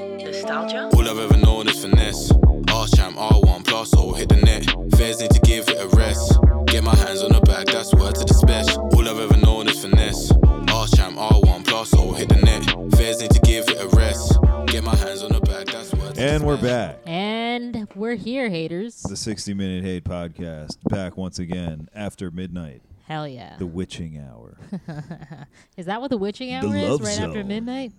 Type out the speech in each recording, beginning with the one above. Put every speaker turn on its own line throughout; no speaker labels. nostalgia.
All I've ever known is finesse. R champ, R1 plus, or hit the net. Fairs need to give it a rest. Get my hands on the bag, that's word to the special. All I've ever known is finesse. R champ, R1 plus, or hit the net. Fairs need to give it a rest. Get my hands on the bag, that's word to
And
the
we're
special.
back.
And we're here, haters.
The 60 Minute Hate Podcast back once again after midnight,
Hell yeah.
the witching hour.
Is that what the witching hour is?
love
Right after
zone.
midnight?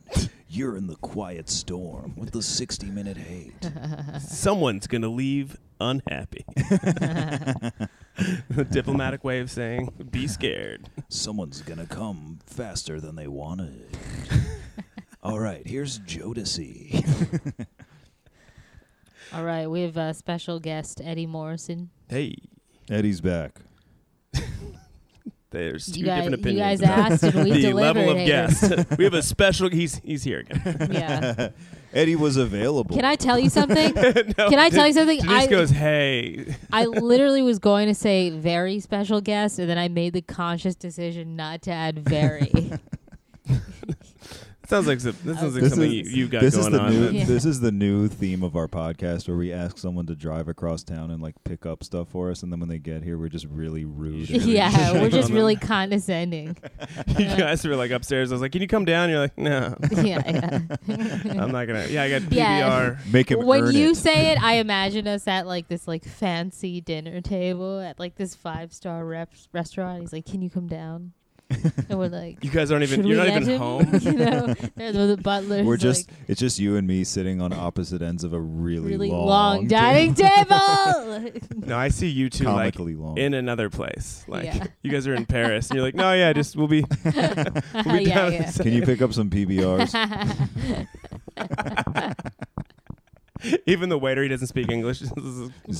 You're in the quiet storm with the 60 Minute Hate.
Someone's going to leave unhappy. the diplomatic way of saying, be scared.
Someone's gonna come faster than they wanted. All right, here's Jodeci.
All right, we have a special guest, Eddie Morrison.
Hey,
Eddie's back.
there's two
you guys,
different opinions.
you guys
about
asked, and we
the
delivered.
level of
haters.
guest. we have a special. He's he's here again.
yeah.
Eddie was available.
Can I tell you something? Can I tell you something?
Denise
I
goes, hey.
I literally was going to say very special guest, and then I made the conscious decision not to add very.
Sounds like some, that sounds like
This
something
is-
you, you've got
this
going
is the
on.
new.
that's-
Yeah.
This is the new theme of our podcast, where we ask someone to drive across town and like pick up stuff for us, and then when they get here, we're just really rude. and really
yeah, we're
shit
just
on them.
really condescending.
you guys were like upstairs. I was like, "Can you come down?" You're like, "No,
Yeah, yeah.
I'm not gonna." Yeah, I got PBR.
Yeah.
make him
when
earn
you
it.
say it, I imagine us at like this like fancy dinner table at like this five star rep- restaurant. He's like, "Can you come down?" And we're like,
You guys aren't even.
"Should
You're
we
not
let
even
him?"
home.
you know, there's the butler.
we're just it's just you and me sitting on opposite ends of a really,
really long dining
table.
table.
No, I see you two like
comically long.
in another place. Like
Yeah.
you guys are in Paris, and you're like, "No, yeah, just we'll be." we'll be
Uh, Yeah,
down
yeah.
yeah.
Can you pick up some PBRs?
Even the waiter, he doesn't speak English. This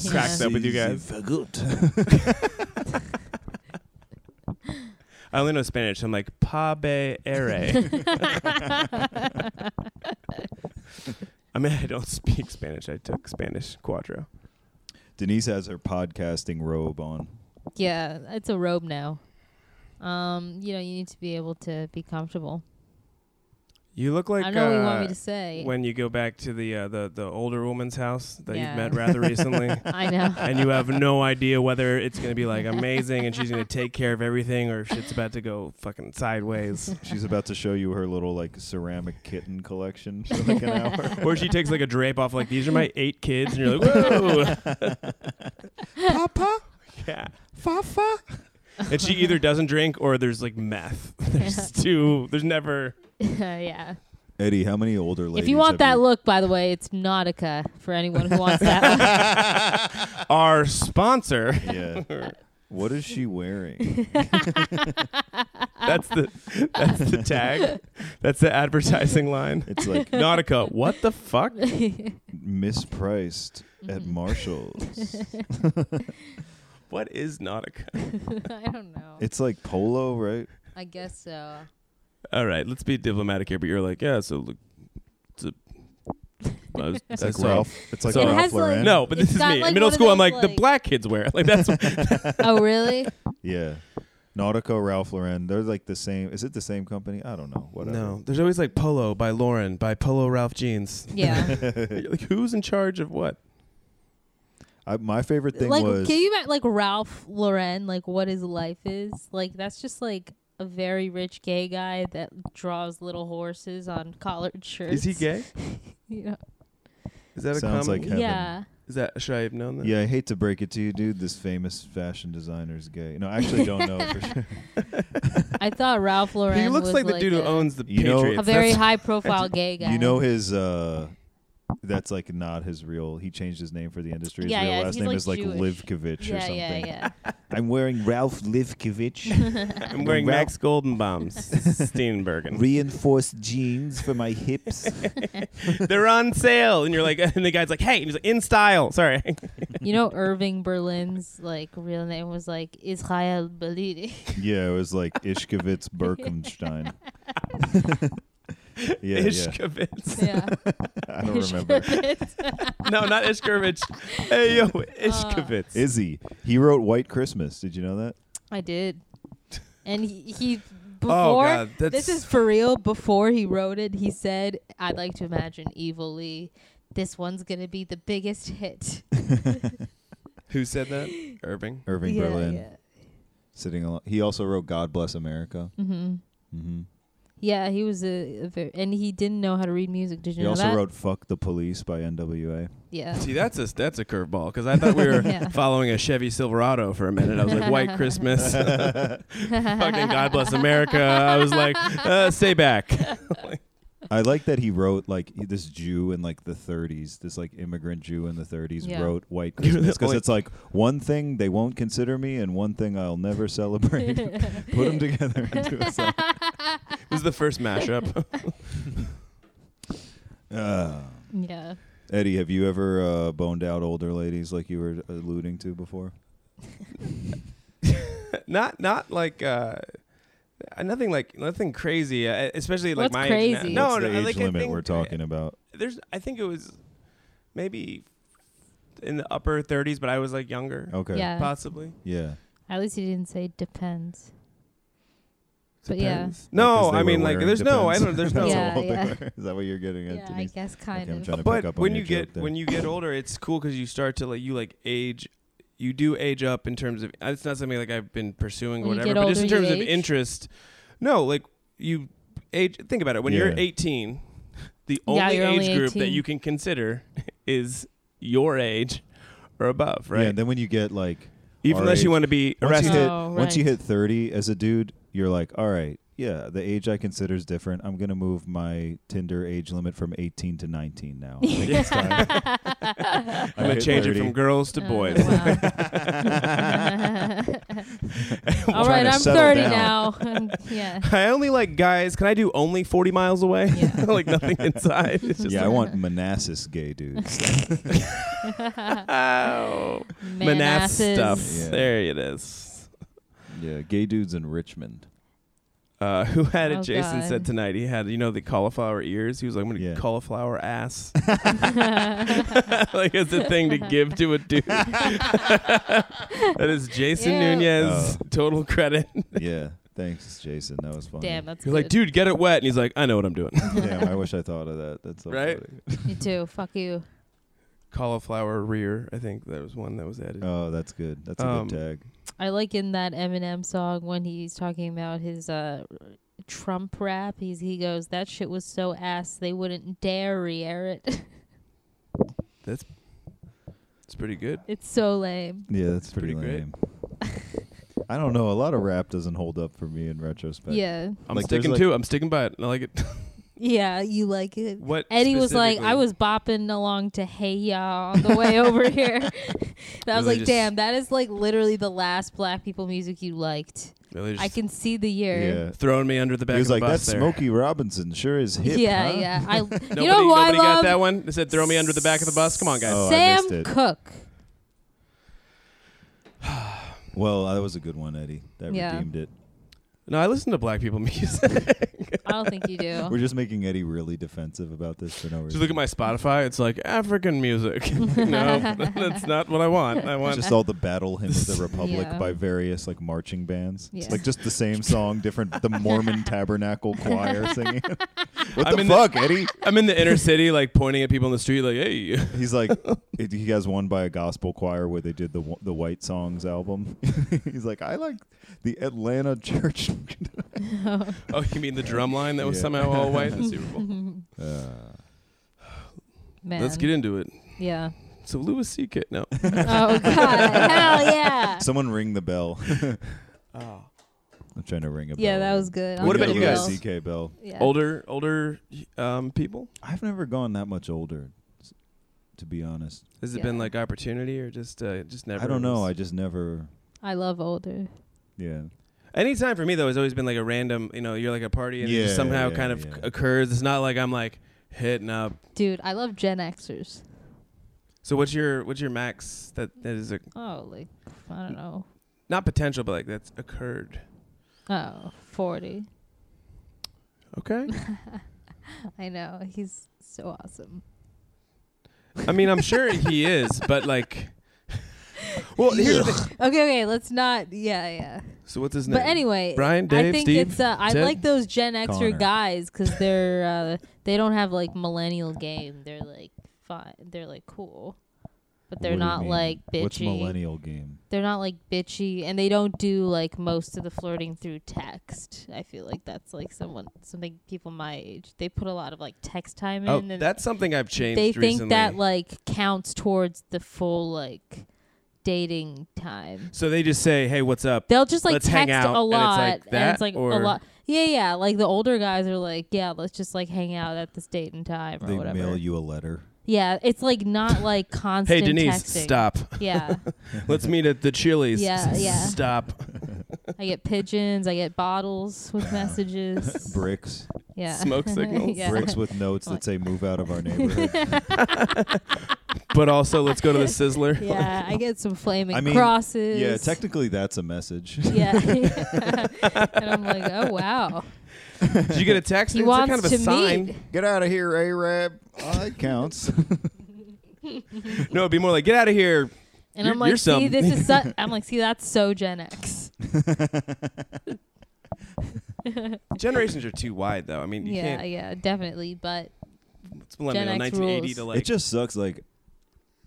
is cracks up with you guys. I only know Spanish. so I'm like, "Pabe ere." I mean, I don't speak Spanish. I took Spanish quattro.
Denise has her podcasting robe on.
yeah, it's a robe now. Um, you know, you need to be able to be comfortable.
You look like
I know what you want me
uh,
to say.
when you go back to the uh, the the older woman's house that
Yeah.
you've met rather recently.
I know.
and you have no idea whether it's going to be like amazing and she's going to take care of everything or if shit's about to go fucking sideways.
She's about to show you her little like ceramic kitten collection for like an hour.
Or she takes like a drape off, like, these are my eight kids. And you're like, whoa.
Papa,
yeah.
Fafa.
And she either doesn't drink or there's like meth. There's two, there's never.
yeah.
Eddie, how many older ladies?
if you want that
have
look, by the way, it's Nautica for anyone who wants that look.
Our sponsor.
you- yeah. What is she wearing?
That's the that's the tag. That's the advertising line.
It's like
Nautica, what the fuck?
mispriced at
Mm-hmm.
Marshalls.
What is Nautica?
I don't know.
It's like polo, right?
I guess so.
all right, let's be diplomatic here. But you're like, yeah, so look, it's a, I was-
It's
I
like
saw-
Ralph. It's like
So- It
Ralph
has, like-
Lauren.
No, but this
It's
is
got,
me.
like,
In middle
one of
school, I'm
those,
like, the
like-
black kids wear. it. Like that's
oh, really?
Yeah. Nautica, Ralph Lauren. They're like the same. Is it the same company? I don't know. Whatever.
no. There's always like Polo by Lauren by Polo Ralph Jeans.
Yeah.
You're like who's in charge of what?
I, my favorite thing
like,
was
can you imagine, like Ralph Lauren, like what his life is? Like, that's just like a very rich gay guy that draws little horses on collared shirts.
Is he gay?
You know?
Is that a
Sounds
comedy?
like- Kevin.
Yeah.
Is that should I have known that?
Yeah, I hate to break it to you, dude. This famous fashion designer's gay. No, I actually don't know for sure.
I thought Ralph Lauren
he looks
was
like the dude who
a-
owns the
You know-
Patriots.
a very
That's-
high profile gay guy.
You know his uh that's like not his real he changed his name for the industry. His
Yeah,
real
yeah,
last
he's,
name
like,
is like
Jewish.
Livkovich or
yeah,
something.
yeah, yeah.
I'm wearing Ralph Livkovich
I'm wearing
Ralph-
Max Goldenbaum's Steenbergen.
reinforced jeans for my hips.
They're on sale, and you're like, and the guy's like, hey, and he's like, in style. Sorry,
you know Irving Berlin's like real name was like Israel Belidi.
yeah, it was like Ishkovitz Berkenstein. yeah, yeah.
Ishkovitz.
yeah.
I don't remember.
no, not Ishkovich. Hey yo, Ishkovitz.
Uh,
Izzy. He wrote White Christmas. Did you know that?
I did. And he, he
Oh,
before
God, that's-
this is for real. Before he wrote it, he said, "I'd like to imagine evilly. This one's gonna be the biggest hit."
Who said that? Irving.
Irving
Yeah,
Berlin
yeah.
sitting alone. He also wrote "God Bless America."
hmm
hmm
Yeah, he was a, a very, and he didn't know how to read music. Did you
He
know
also
that?
wrote "Fuck the Police" by N.W.A.
yeah.
See, that's a that's a curveball because I thought we were
Yeah.
following a Chevy Silverado for a minute. I was like, White Christmas, fucking God bless America. I was like, uh, stay back.
I like that he wrote like he- this Jew in like the 30s, this like immigrant Jew in the 30s
Yeah.
wrote White
You're the
Christmas because
only-
it's like one thing they won't consider me and one thing I'll never celebrate. Put them together into a song.
This is the first mashup.
Ah.
yeah.
Eddie, have you ever uh, boned out older ladies like you were alluding to before?
not not like uh, nothing like nothing crazy. Uh, especially like
What's
my
crazy?
Age now. No,
What's
no,
the age
like, I
limit
think-
we're talking about.
There's, I think it was maybe in the upper 30s, but I was like younger,
Okay.
Yeah.
possibly.
Yeah.
At least he didn't say depends. But
Depends.
Because
No,
they
I
were
mean like
wearing
there's no, I
Depends.
don't. There's no.
That's
Yeah.
how old they were. Is that what you're getting
yeah.
at,
I
Denise?
guess
Okay,
kind
I'm
of.
trying to pick
but
up on
when
your
you get
joke there.
when you get older, it's cool because you start to like you like age. You do age up in terms of uh, it's not something like I've been pursuing or
When you
whatever,
get
but just in
older, you
terms of
age?
interest. No, like you age. Think about it. When
Yeah.
you're 18, the
Yeah,
only
you're
age
only
group that
18.
you can consider is your age or above, right?
Yeah, and then when you get like
Even
our
unless you
age.
want to be
Once you
arrested.
hit,
Oh,
once you
right.
hit 30 as a dude, you're like, all right, yeah, the age I consider is different. I'm going to move my Tinder age limit from 18 to 19 now. I think it's time.
to
I'm
I
gonna
hit
change
30.
it from girls
Oh,
to boys.
All
trying
right,
to
I'm
settle
30
down.
now. And, yeah.
I only like guys. Can I do only 40 miles away?
Yeah.
like nothing inside. It's just
Yeah, I want Manassas gay dudes.
oh, Manass
Manasses.
stuff.
Yeah.
There it is.
yeah, gay dudes in Richmond.
Uh, who had it?
Oh,
Jason
God.
said tonight he had you know the cauliflower ears. He was like, I'm gonna
Yeah.
cauliflower ass. like it's a thing to give to a dude. that is Jason
Ew.
Nunez.
Oh.
Total credit.
Yeah, thanks, Jason. That was fun.
Damn, that's
You're
good.
like, dude, get it wet, and he's like, I know what I'm doing.
Damn, I wish I thought of that. That's so
Right?
funny.
You too. Fuck you.
cauliflower rear. I think that was one that was added.
Oh, that's good. That's a
Um,
good tag.
I like in that Eminem song when he's talking about his uh, Trump rap. He's he goes, "That shit was so ass they wouldn't dare re-air it."
That's it's pretty good.
it's so lame.
Yeah, that's pretty,
pretty great.
lame. I don't know. A lot of rap doesn't hold up for me in retrospect.
yeah,
I'm
Like, there's
sticking
like-
to. it. I'm sticking by it. I like it.
yeah, you like it.
what
Eddie was like,
specifically-
I was bopping along to Hey Ya on the way over here. And I was
Really
like,
just-
damn, that is like literally the last black people music you liked.
really just
I can see the year.
Yeah.
throwing me under the back.
He was
of
like,
the
that
bus there.
Smokey Robinson sure is hip.
yeah,
huh?"
yeah. I,
Nobody,
you know who I
nobody got
love?
that one. They said, "Throw me under the back of the bus." Come on, guys.
Oh, I missed
Sam
it.
Cook.
Well, that was a good one, Eddie. That
Yeah.
redeemed it.
No, I listen to black people music.
I don't think you
We're
do.
just making Eddie really defensive about this for no reason.
Just look at my Spotify. It's like African music. no, that's not what I want. I
It's
want.
just all the battle hymn of the republic
Yeah.
by various like marching bands. It's
Yeah.
like just the same song, different the Mormon Tabernacle Choir singing. it. what
I'm
the
in the-
fuck, Eddie?
I'm in the inner city, like pointing at people in the street, like, "Hey,
He's like, it, he has one by a gospel choir where they did the wh- the White Songs album. He's like, I like the Atlanta church.
oh, you mean the drum line that was
Yeah.
somehow all white?" in the Super Bowl.
uh,
Man.
Let's get into it.
Yeah.
So Louis C.K. No.
Oh God. Hell yeah.
someone ring the bell.
Oh.
I'm trying to ring a bell.
Yeah, that was good.
Ring
What
the
about you
Louis
guys?
CK bell.
Yeah.
Older, older um, people.
I've never gone that much older, s- to be honest.
Has it
Yeah.
been like opportunity or just uh, just never?
I don't know.
was-
I just never.
I love older.
Yeah.
Any time for me though has always been like a random, you know, you're like a party and it
Yeah,
just somehow
yeah,
kind of
yeah.
occurs. It's not like I'm like hitting up.
Dude, I love Gen Xers.
So what's your what's your max that that is a,
Oh, like I don't know.
not potential but like that's occurred.
Oh, 40.
Okay.
I know. He's so awesome.
I mean, I'm sure he is, but like Well, here's the
Ugh.
thing.
Okay, okay, let's not. Yeah, yeah.
So what's his name?
But anyway,
Brian,
I
Dave,
think
Steve,
it's. Uh, I
Ted?
like those Gen Xer
Connor.
guys because they're uh, they don't have like millennial game. They're like fine. They're like cool, but they're
What do you
not
mean?
like bitchy.
What's millennial game?
They're not like bitchy, and they don't do like most of the flirting through text. I feel like that's like someone something people my age they put a lot of like text time in.
oh,
and
that's something I've changed.
they think
recently.
that like counts towards the full like dating time.
so they just say, "Hey, what's up?"
They'll just like
Let's hang
text
out, and
a
it's
lot,
like that,
it's like
or-
a lot. Yeah, yeah. Like the older guys are like, yeah, let's just like hang out at this date and time or
They
whatever.
mail you a letter.
Yeah, it's like not like constant.
Hey, Denise,
texting.
stop.
Yeah,
Let's meet at the Chili's.
Yeah, yeah.
Stop.
I get pigeons. I get bottles with messages.
Bricks.
yeah,
Smoke signals.
yeah.
Bricks with notes that say "Move out of our neighborhood."
But also, let's go to the Sizzler.
Yeah, I get some flaming
I mean,
crosses.
yeah, technically that's a message.
Yeah, and I'm like, oh wow,
Did you get a text?
he
It's a
wants
kind of a
to
sign.
meet.
Get out of here, Arab. Oh, that counts.
No, it'd be more like, "Get out of here."
And
You're-
I'm
you're
like, see,
some-
this is su- I'm like, see, that's so Gen X.
Generations are too wide, though. I mean, you
yeah,
can't.
yeah, definitely. But
It's millennial,
Gen X
1980 to
rules.
like.
it just sucks. Like,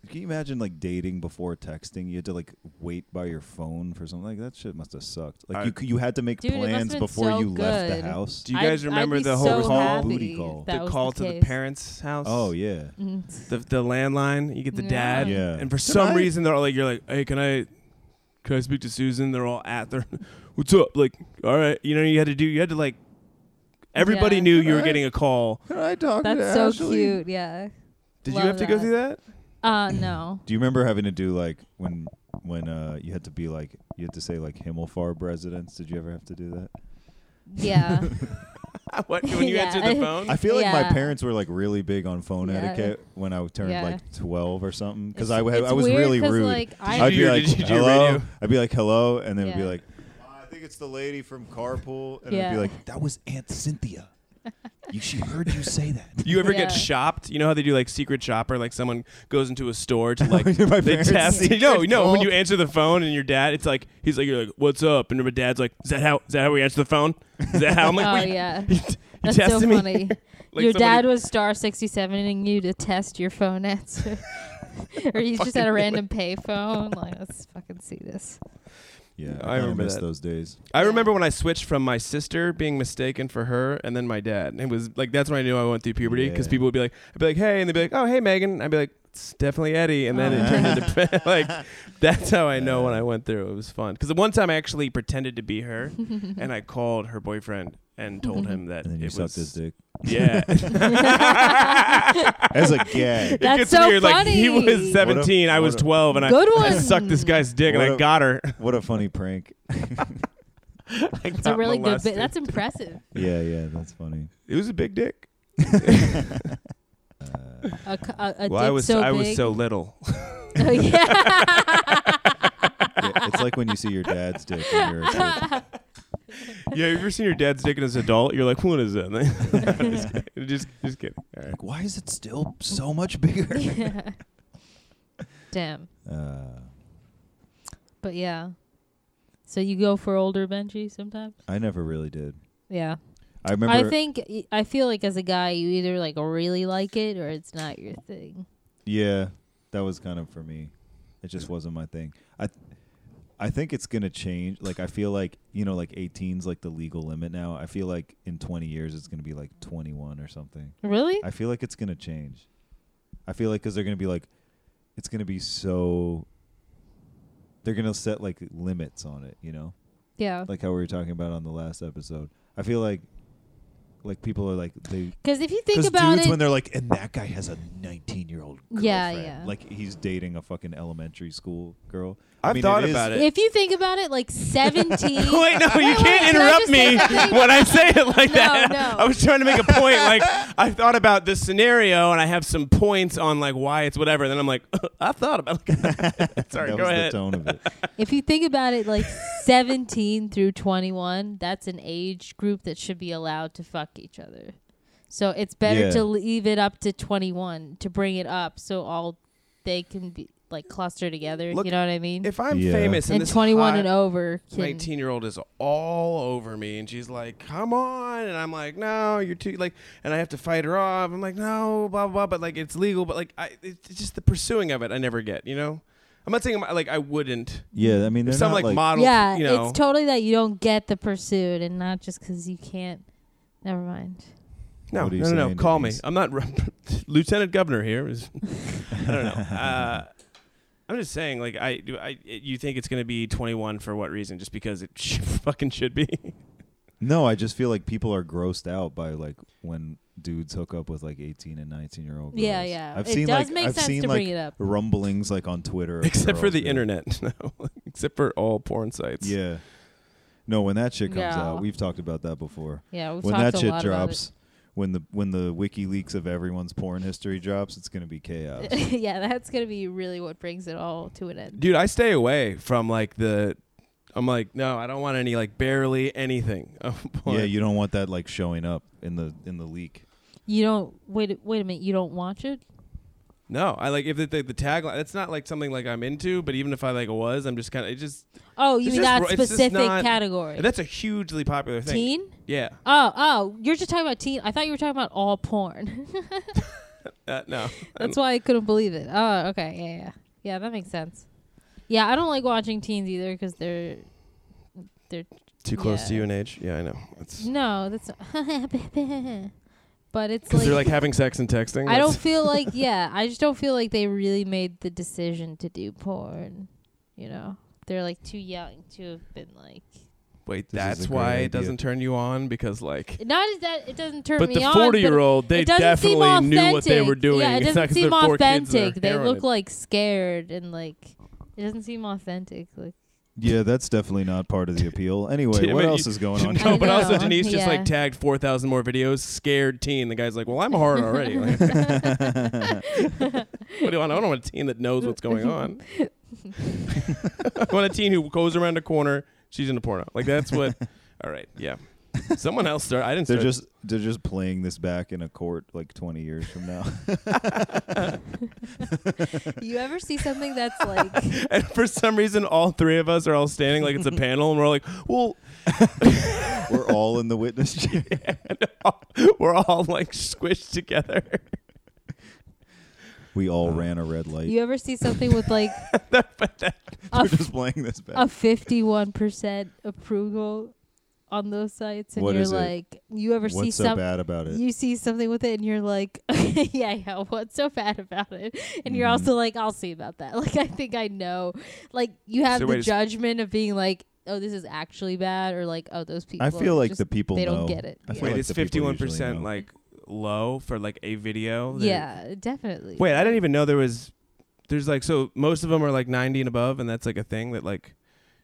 can you imagine like dating before texting? You had to like wait by your phone for something. Like that shit must have sucked. Like
I-
you c- you had to make
Dude, it must've
plans
been
before
so
you left the
good.
house.
do you
I'd-
guys remember
I'd be
the
so
whole
call,
happy
booty call.
if that
the
was
call
the
to the
case.
parents' house?
oh yeah.
Mm.
the, the landline. You get the
Yeah.
dad,
Yeah.
and for
Can
some
I-
reason they're all like, "You're like, hey, can I, can I speak to Susan?" They're all at their, "What's up?" Like, all right, you know, you had to do, you had to like, everybody
Yeah.
knew you were
Alright.
getting a call.
Can I talk
That's so cute. Yeah.
Did
Love
you have to go
that.
through that?
Uh, no.
Do you remember having to do like when when uh you had to be like you had to say like Himmelfarb residence? Did you ever have to do that?
Yeah.
what when you
Yeah.
answered the phone?
I feel like my
Yeah.
parents were like really big on phone
Yeah.
etiquette when I turned
Yeah.
like twelve or something because
It's-
I, wa-
it's
I was
weird
really
'cause,
rude.
Like, I,
I'd
do
be
your-
like
did you do your
hello.
radio?
I'd be like hello, and they would be
Yeah.
like, "Ma, I think it's the lady from carpool, and I'd
Yeah.
be like, that was Aunt Cynthia. You, she heard you say that.
You ever
Yeah.
get shopped? You know how they do like secret shopper, like someone goes into a store to like
My
they
parents'
test.
secret
No, no. When
call.
you answer the phone and your dad, it's like he's like you're like, "What's up?" And your dad's like, "Is that how? Is that how we answer the phone? Is that how?" I'm like,
oh
"Wait,
yeah.
you, you
That's so
tested me?"
funny.
Like
your
somebody-
dad was star sixty sevening you to test your phone answer, or you just had a random payphone. Like, let's fucking see this.
Yeah,
I
I, kinda
remember
miss
that.
those days.
I
Yeah.
remember when I switched from my sister being mistaken for her and then my dad. It was like that's when I knew I went through puberty because
Yeah.
people would be like, I'd be like, hey, and they'd be like, oh, hey, Megan. I'd be like, it's definitely Eddie, and then it
Oh.
turned into like that's how I know when I went through. It was fun because one time I actually pretended to be her and I called her boyfriend and told him that
And then you
it
sucked
was
his dick
yeah.
as a gag.
It
That's
gets
so
weird. Like he
funny.
was 17, I
what
was
a-
12, and I,
Good
I
one.
sucked this guy's dick,
What
and I
a-
got her.
What a funny prank.
It's a really good bit. That's impressive.
Yeah, yeah, that's funny.
it was a big dick.
Uh,
A, c- a, a
well,
dick
I was
so
I
big.
was so little.
Oh, yeah.
Yeah, it's like when you see your dad's dick when you're a kid.
yeah, have you ever seen your dad's dick as an adult? You're like, what is that? just, kidding. just just kidding. All right.
Like, why is it still so much bigger?
Damn.
Uh,
But yeah. So you go for older Benji sometimes?
I never really did.
Yeah.
I remember.
I think y- I feel like as a guy you either like really like it or it's not your thing.
yeah, that was kind of for me. It just wasn't my thing. I, I think it's gonna change. Like, I feel like you know, like 18's like the legal limit now. I feel like in 20 years it's gonna be like 21 or something.
Really?
I feel like it's gonna change. I feel like because they're gonna be like, it's gonna be so. They're gonna set like limits on it, you know.
Yeah.
like how we were talking about on the last episode. I feel like like people are like they
Cuz if you think
because
about
dudes
it
when they're like, and that guy has a 19 year old girlfriend.
Yeah, yeah.
Like he's dating a fucking elementary school girl.
I've thought
is-
about it.
if you think about it like 17
Wait, no, you
wait,
can't
can I
interrupt
just say
me
something?
when I say it like
No,
that.
no.
I was trying to make a point. Like I thought about this scenario, and I have some points on like why it's whatever. And then I'm like, I thought about. Sorry,
that
go
was
ahead.
the tone of it.
if you think about it like 17 through 21, that's an age group that should be allowed to fuck each other. So it's better
Yeah.
to leave it up to 21 to bring it up so all they can be like cluster together.
Look,
you know what I mean?
If I'm
Yeah.
famous and,
and
this
21 and oh,
hot
over can
19 year old is all over me and she's like, come on. And I'm like, no, you're too, like, and I have to fight her off. I'm like, no, blah, blah, blah. But like, it's legal. But like, I, it's just the pursuing of it I never get, you know? I'm not saying I'm, like I wouldn't.
Yeah, I mean, they're
If some
not
like,
like,
model,
yeah,
you know,
it's totally that you don't get the pursuit, and not just because you can't. Never mind.
no,
What are you
no, no, no,
saying,
call me.
Denise?
I'm not Lieutenant Governor here. Is I don't know. Uh, I'm just saying, like, I, do I, you think it's gonna be 21 for what reason? Just because it sh- fucking should be.
no, I just feel like people are grossed out by like when dudes hook up with like 18 and 19 year old girls.
Yeah, yeah.
I've
It
seen
does
like
make
I've
sense
seen
to
like
bring it up.
rumblings like on Twitter, of
except for
girls
the
being-
internet no except for all porn sites
Yeah. No, when that shit comes
No.
out, we've talked about that before.
Yeah, we've
when
talked
that
a
shit
lot
drops, when the when the WikiLeaks of everyone's porn history drops, it's gonna be chaos.
about it. yeah, that's gonna be really what brings it all to an end.
dude i stay away from like the i'm like no i don't want any like barely anything of porn.
yeah, you don't want that like showing up in the in the leak.
You don't wait. Wait a minute. You don't watch it.
no i like if the, the, the tagline that's not like something like i'm into but even if i like was i'm just kind of it just
Oh, you
It's
mean
just
that
ro- it's just
specific
not-
category?
that's a hugely popular thing
teen.
yeah
Oh, oh, you're just talking about teen. I thought you were talking about all porn.
uh, no
That's why I couldn't believe it. Oh, okay. Yeah, yeah. Yeah, that makes sense. Yeah, I don't like watching teens either because they're
too close to
Yeah.
you in age yeah i know it's
no, that's but it's
because
like,
they're like having sex and texting
I don't
That's-
feel like yeah, I just don't feel like they really made the decision to do porn. You know, they're like too young to have been like.
wait
This is a
that's
great
why
idea.
it doesn't turn you on because like
Not as that it doesn't turn
but
me
the
on.
40 year old they
it doesn't seem
definitely knew what they were
authentic.
doing
Yeah, it
It's
doesn't
not 'cause
seem
they're four kids and they're
authentic. They
heroin
look
addicts.
like scared and like it doesn't seem authentic. Like.
Yeah, that's definitely not part of the appeal. Anyway,
Damn
what
it,
else
you-
is going on?
I
No, but also
know,
Denise just
yeah.
like tagged four thousand more videos. Scared teen. The guy's like, "Well, I'm hard already. Like, what do you want? I don't want a teen that knows what's going on. I want a teen who goes around a corner. She's in a porno. Like that's what. All right, yeah. Someone else started. I didn't.
They're
Start.
just they're just playing this back in a court like 20 years from now.
You ever see something that's like
and for some reason, all three of us are all standing like it's a panel, and we're like, "Well,
We're all in the witness chair.
we're all like squished together."
We all ran a red light.
you ever see something with like
We're
a,
just playing this back.
a 51% approval on those sites and
What
you're
is it?
like you ever see
What's so
some
bad about it?
you see something with it and you're like yeah yeah what's so bad about it and you're
Mhm.
also like I'll see about that like I think I know like you have
So wait,
the
it's-
judgment of being like oh this is actually bad or like oh those people
I feel
are
like
just-
the people
they don't
know.
get it.
I feel
Wait,
like
it's
the people
fifty-one
usually
percent
know.
like low for like a video. They're-
yeah definitely
Wait, I didn't even know there was. There's like so most of them are like 90 and above, and that's like a thing that like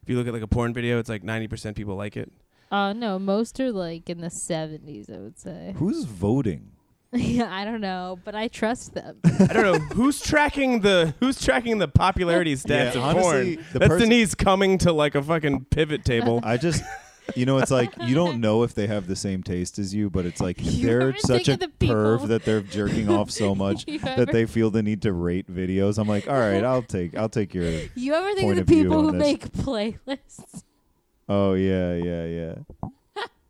if you look at like a porn video, it's like 90 percent people like it.
uh no most are like in the 70s I would say
Who's voting?
yeah I don't know but I trust them
I don't know who's tracking the who's tracking the popularity stats
Yeah,
of
honestly,
porn.
the
that's
person-
Denise coming to like a fucking pivot table.
I just, you know, it's like you don't know if they have the same taste as you, but it's like
You
they're
haven't
such a
taken the people.
perv that they're jerking off so much
You
that
haven't-
they feel the need to rate videos. I'm like, all right, I'll take, I'll take your.
You ever think
point
of
of
the
view
people
on
who
this.
make playlists?
Oh yeah, yeah, yeah.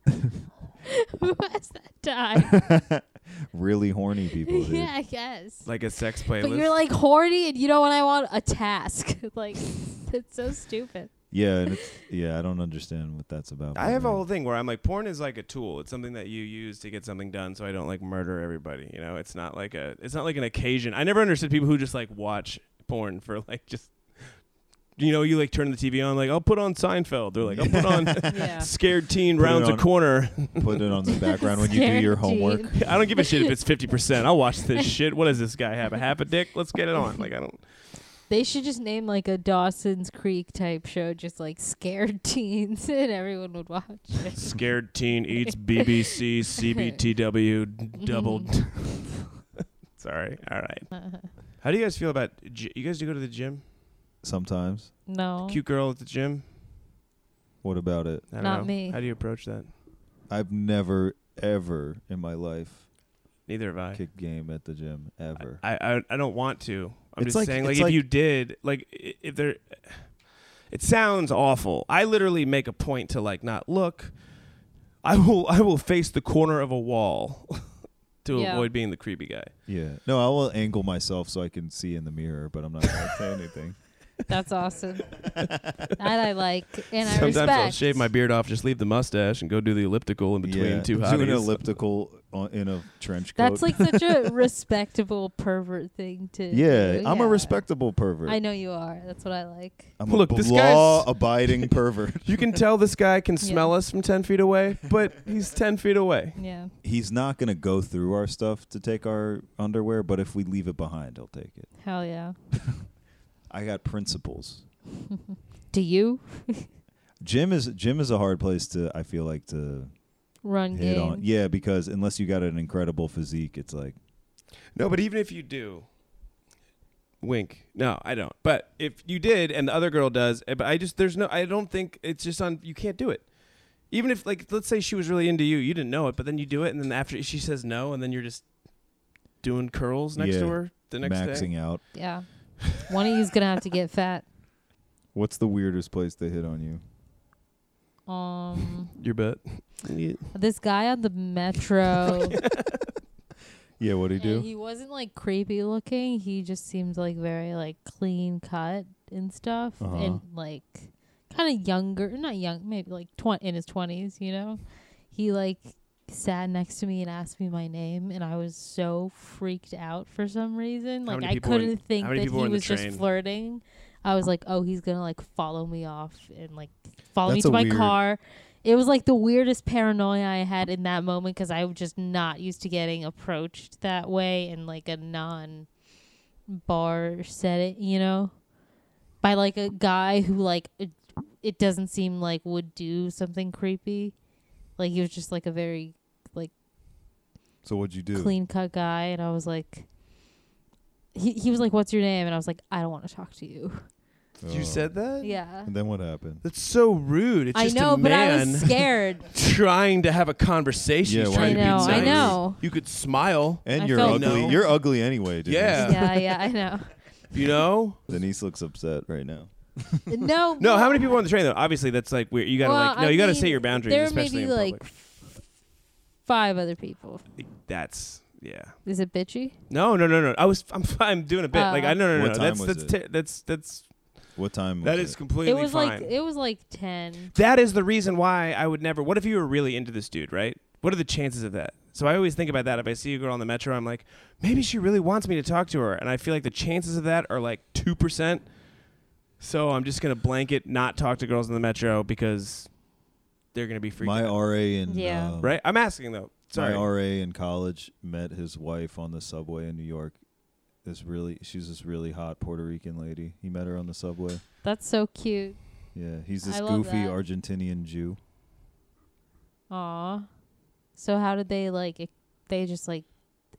who has that time?
Really horny people. Dude.
yeah, I guess.
like a sex
but
playlist.
you're like horny, and you know what I want? A task. like it's so stupid.
Yeah, and it's, yeah. I don't understand what that's about.
I have a
but-
whole thing where I'm like, porn is like a tool. It's something that you use to get something done. So I don't like murder everybody. You know, it's not like a, it's not like an occasion. I never understood people who just like watch porn for like just, you know, you like turn the TV on, like I'll put on Seinfeld. They're like, I'll put on
yeah.
scared teen
Put it
rounds a
on.
corner.
Put it on the background when you do your homework.
Guaranteed.
I don't give a shit if it's fifty percent. I'll watch this shit. What does this guy have? A half a dick? Let's get it on. Like I don't.
They should just name like a Dawson's Creek type show, just like scared teens, and everyone would watch it.
Scared teen eats BBC CBTW double.
Mm-hmm.
Sorry. All right. How do you guys feel about gy- you guys? Do go to the gym?
Sometimes.
No.
Cute girl at the gym.
What about it?
I don't
Not
know.
me.
How do you approach that?
I've never ever in my life
Neither have I.
kick game at the gym ever.
I, I I don't want to. I'm
It's
just
like-
saying, like,
it's
if
like-
you did, like, i- if there, it sounds awful. I literally make a point to like not look. I will I will face the corner of a wall to
Yeah.
avoid being the creepy guy.
yeah. No, I will angle myself so I can see in the mirror, but I'm not going to say anything.
That's awesome. that I like and I
Sometimes
respect.
I'll shave my beard off, just leave the mustache, and go do the elliptical in between
yeah.
two
Do
hotties.
an elliptical on, in a trench coat.
That's like such a respectable pervert thing to.
yeah,
do.
I'm a respectable pervert.
I know you are. That's what I like.
I'm
Look,
a
this guy's-
law-abiding pervert.
you can tell this guy can
Yeah.
smell us from ten feet away, but he's ten feet away.
Yeah.
He's not going to go through our stuff to take our underwear, but if we leave it behind, he'll take it.
Hell yeah.
I got principles.
Do you
Gym is gym is a hard place to I feel like to
run
hit
game?
on. Yeah, because unless you got an incredible physique, it's like
No, but even if you do, wink. No, I don't. But if you did, and the other girl does, eh, but I just there's no. I don't think it's just on. You can't do it. Even if like let's say she was really into you, you didn't know it, but then you do it, and then after she says no, and then you're just doing curls next
Yeah.
to her the next
maxing
day.
out.
Yeah. One of you's gonna have to get fat.
What's the weirdest place they hit on you?
Um,
Your butt.
this guy on the metro.
Yeah, what do you
Yeah,
do?
He wasn't like creepy looking. He just seemed like very like clean cut and stuff,
Uh-huh.
and like kind of younger, not young, maybe like twenty in his twenties. You know, he like sat next to me and asked me my name, and I was so freaked out for some reason.
How
Like
many
I
people were in-
couldn't think
how many
that he
people were in the
was just
train?
flirting. I was like, oh, he's gonna like follow me off and like follow me
That's
to
a
my
weird-
car. It was like the weirdest paranoia I had in that moment because I was just not used to getting approached that way in like a non bar setting, you know, by like a guy who like it, it doesn't seem like would do something creepy. Like he was just like a very
So what'd you do?
clean cut guy, and I was like, he he was like, "What's your name?" And I was like, "I don't want to talk to you."
You said that.
Yeah,
And then what happened?
That's so rude. It's
I
just
know,
a
but I
man
was scared.
trying to have a conversation.
Yeah,
He's
why
trying
you
I
to be
know,
being
I
nice.
nice.
know.
You could smile.
And
I
you're
felt-
ugly.
No.
You're ugly anyway, Denise.
Yeah.
yeah, yeah, I know.
You know.
Denise looks upset right now.
No,
No,
but-
how many people are on the train though? Obviously, that's like weird. You gotta
Well,
like no,
I
you gotta
mean,
set your boundaries,
There may
especially
be
in
like
public.
five other people.
That's yeah.
Is it bitchy?
No, no, no, no. I was I'm I'm doing a bit like
Uh,
I no no no.
What
no.
time
That's
was
that's
it?
ta- that's that's
What time?
that
was
is
it?
completely
it was
fine.
like it was like ten.
that is the reason why I would never. What if you were really into this dude, right? What are the chances of that? So I always think about that. If I see a girl on the metro, I'm like, maybe she really wants me to talk to her, and I feel like the chances of that are like two percent. So I'm just gonna blanket not talk to girls in the metro because they're gonna be freaking
my
out.
RA in
Yeah.
uh,
right. I'm asking though. Sorry.
My RA in college met his wife on the subway in New York. This really, she's this really hot Puerto Rican lady. He met her on the subway.
That's so cute.
Yeah, he's
I
this
love
goofy
that.
Argentinian Jew.
Aw. So how did they like? It, they just like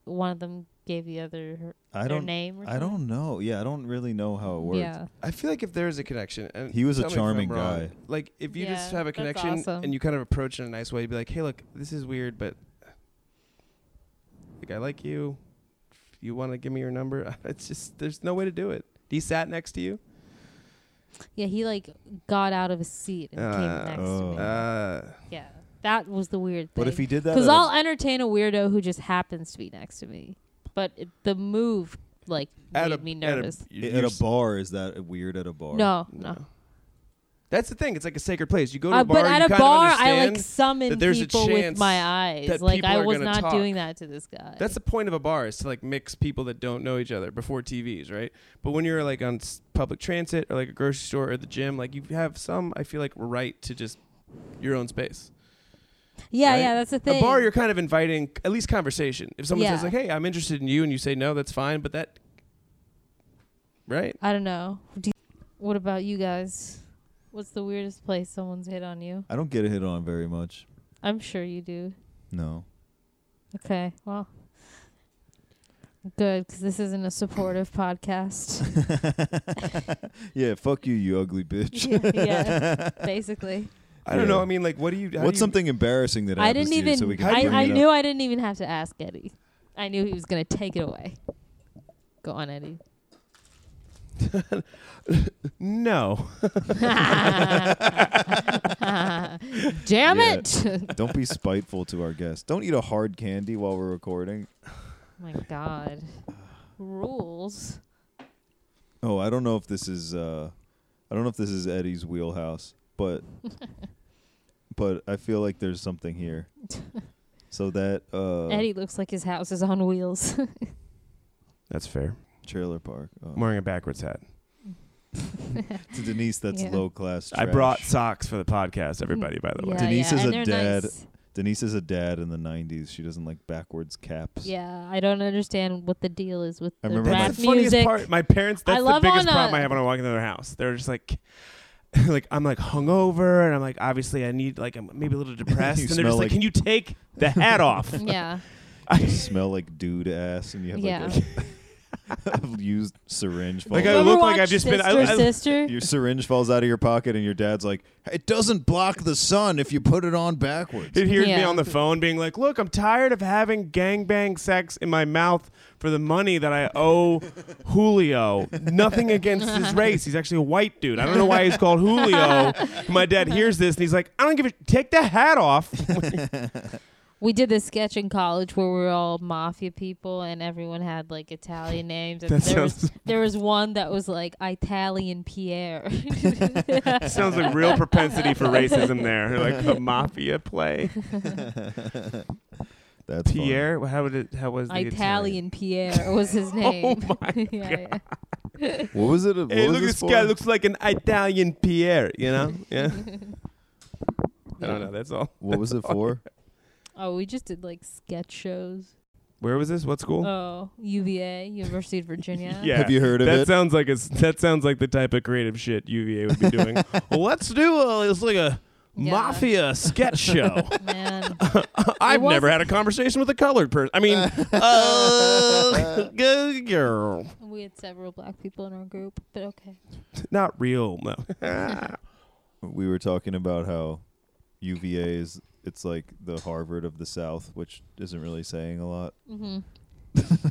one of them gave the other her,
I
their
don't,
name. Or
I
something?
don't know. Yeah, I don't really know how it works.
Yeah.
I feel like if there is a connection, and
He was a
tell me if I'm
charming
wrong,
guy.
Like if you just
Yeah,
have a
that's
connection
awesome.
and you kind of approach it in a nice way, you'd be like, "Hey, look, this is weird, but like I like you. If You want to give me your number? It's just there's no way to do it. He sat next to you.
Yeah, he like got out of his seat and
Uh,
came next
oh.
to me.
Uh,
yeah, that was the weird thing.
But if he did that,
because
at a-
I'll entertain a weirdo who just happens to be next to me, but it, the move like
at
made
a,
me
at a-
nervous.
you-
at
you're
a bar, is that weird? At a bar?
no,
No.
no.
That's the thing. It's like a sacred place. You go to
Uh,
a bar,
but at
you
a
kind
bar,
of
I like
understand.
summon
that there's a
people
chance
with my eyes.
that
Like
people
I
are
was
gonna
not
talk.
doing that to this guy.
That's the point of a bar is to like mix people that don't know each other before TVs, right? But when you're like on s- public transit or like a grocery store or the gym, like you have some, I feel like right to just your own space.
yeah,
right?
yeah. That's the thing.
A bar, you're kind of inviting at least conversation. If someone says
Yeah.
like, "Hey, I'm interested in you," and you say no, that's fine. But that, right?
I don't know. Do you- what about you guys? What's the weirdest place someone's hit on you?
I don't get hit on very much.
I'm sure you do.
No.
Okay, well, good because this isn't a supportive podcast.
yeah, fuck you, you ugly bitch.
yeah, yeah, basically.
I don't
Yeah.
know. I mean, like, what do you? how do
What's
you-
something embarrassing that
I
happens
didn't
to you
even.
so we can
How do
I,
bring
you
I
it up?
knew I didn't even have to ask Eddie. I knew he was gonna take it away. Go on, Eddie.
No.
Damn
Yeah.
it!
Don't be spiteful to our guests. Don't eat a hard candy while we're recording.
my God. Rules.
Oh, I don't know if this is uh I don't know if this is Eddie's wheelhouse, but but I feel like there's something here. So that uh
Eddie looks like his house is on wheels.
That's fair.
trailer park. Oh.
I'm wearing a backwards hat.
to Denise that's
Yeah.
low class
I brought socks for the podcast, everybody, by the way.
Yeah,
Denise
yeah,
is
and
a
they're
dad.
nice.
Denise is a dad in the 90s. She doesn't like backwards caps.
Yeah, I don't understand what the deal is with
I
the
remember
That's
Rap
rap
the funniest
music.
part. My parents.
I
That's the
love
biggest
on a-
problem I have when I walk into their house. They're just like, like I'm like hungover, and I'm like, obviously I need like I'm maybe a little depressed,
You
and they're
smell
just like,
like-
can you take the hat off?
yeah,
You smell like dude ass and you have
yeah.
like a, a used syringe.
Like,
falls
I
out-
Ever
look like I've
watch
just been- I-
Sister,
I-
sister.
your syringe falls out of your pocket and your dad's like, "It doesn't block the sun if you put it on backwards."
It hears me
Yeah.
on the phone being like, "Look, I'm tired of having gangbang sex in my mouth for the money that I owe Julio. Nothing against his race. He's actually a white dude. I don't know why he's called Julio." My dad hears this and he's like, "I don't give a take the hat off."
We did this sketch in college where we were all mafia people and everyone had like Italian names. And
That
there was
sounds-
there was one that was like Italian Pierre.
Sounds like real propensity for racism there, like a mafia play.
That's funny.
Pierre, how would it? How was the
Italian Pierre was his name.
Oh my
Yeah, yeah.
What was it? What
Hey,
was
look,
this
this guy
for?
looks like an Italian Pierre. You know? Yeah. I don't know. That's all.
What was it for?
Oh, we just did like sketch shows.
Where was this? What school?
Oh, UVA, University of Virginia.
Yeah.
Have you heard of
that
it?
sounds like a, s- that sounds like the type of creative shit UVA would be doing. well, let's do a, it's like a
Yeah.
mafia sketch show.
Man.
I've
was-
never had a conversation with a colored person. I mean, uh, good girl.
We had several black people in our group, but okay.
Not real. No.
we were talking about how UVA is it's like the Harvard of the South, which isn't really saying a lot.
hmm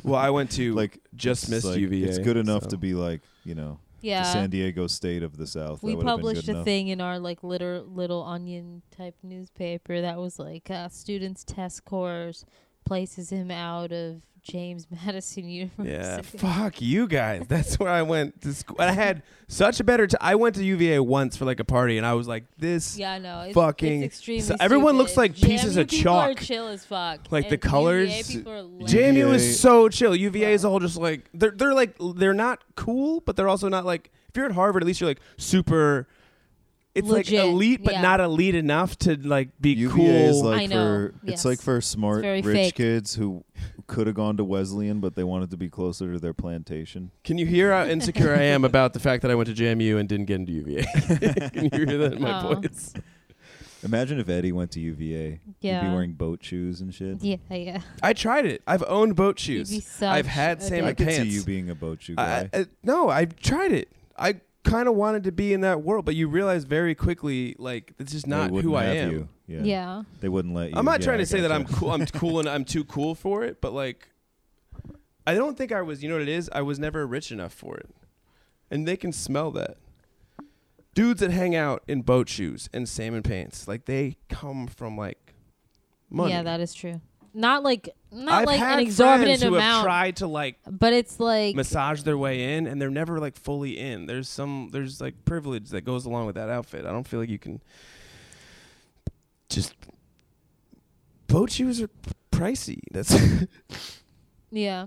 well, I went to
Like
just
it's
missed
like,
UVA.
It's good enough
so.
to be like you know the
Yeah.
San Diego State of the South.
we
that would've been
published
good
a
enough.
thing in our like litter, little onion type newspaper that was like uh, students test scores places him out of James Madison University.
Yeah, fuck you guys. That's where I went to school. I had such a better. T- I went to UVA once for like a party, and I was like, this.
Yeah, no, it's,
Fucking-
it's extremely.
so everyone looks
stupid.
like pieces
JMU
of
people are
chalk.
chill as fuck.
Like the
And
colors-
UVA people are lame.
JMU
UVA
is so chill. UVA is all just like they're they're like they're not cool, but they're also not like if you're at Harvard, at least you're like super. It's
Legit,
like elite, but
yeah.
not elite enough to like be
UVA
cool.
is like
I know,
for
yes.
it's like for smart
very
rich
fake.
kids who could have gone to Wesleyan, but they wanted to be closer to their plantation.
Can you hear how insecure I am about the fact that I went to JMU and didn't get into UVA? Can you hear that in my
Oh.
voice?
Imagine if Eddie went to UVA. He'd
Yeah.
be wearing boat shoes and shit.
Yeah, yeah.
I tried it. I've owned boat
You'd be
shoes.
such
I've had
a
salmon
I
dick.
could see
pants.
you being a boat shoe guy.
I, I, no, I tried it. I kind of wanted to be in that world, but you realize very quickly, like it's just
They
not who
wouldn't
I
have
am.
you. Yeah.
Yeah.
They wouldn't let you.
I'm not
Yeah,
trying
I
to say that I'm
gotcha.
cool. I'm cool and I'm too cool for it, but like, I don't think I was. You know what it is? I was never rich enough for it, and they can smell that. Dudes that hang out in boat shoes and salmon pants, like they come from like money.
Yeah, that is true. Not like not
I've
like
had
an exorbitant
friends who have
amount,
tried to like
but it's like
massage their way in and they're never like fully in there's some there's like privilege that goes along with that outfit i don't feel like you can just boat shoes are pricey that's
yeah.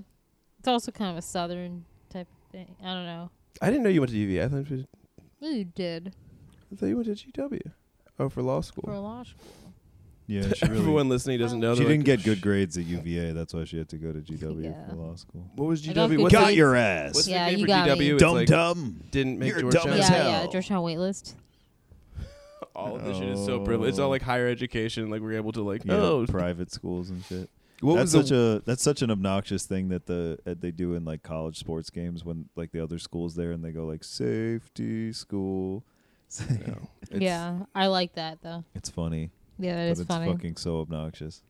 It's also kind of a southern type thing. I don't know.
i didn't know you went to uva i thought you,
You did
I thought you went to gw oh for law school
for law school.
Yeah, she really.
everyone listening doesn't know
she
they're
didn't
like,
get good grades at UVA. That's why she had to go to GW
Yeah.
for law school.
what was
I don't
gw
think
what's
Got
the-
your
ass,
what's the
Yeah,
name
you
for
got
GW?
me.
It's like
dumb.
didn't make
You're dumb
Georgetown.
as
Yeah,
Yeah.
yeah,
hell.
Georgetown waitlist.
all of this shit is so privileged it's all like higher education like we're able to like
Oh. Yeah,
oh
private schools and shit.
what
that's
was
such
the,
a that's such an obnoxious thing that the that they do in like college sports games when like the other schools there and they go like safety school.
No. It's-
Yeah, I like that though.
It's funny,
Yeah,
but
that is
it's
funny.
fucking so obnoxious.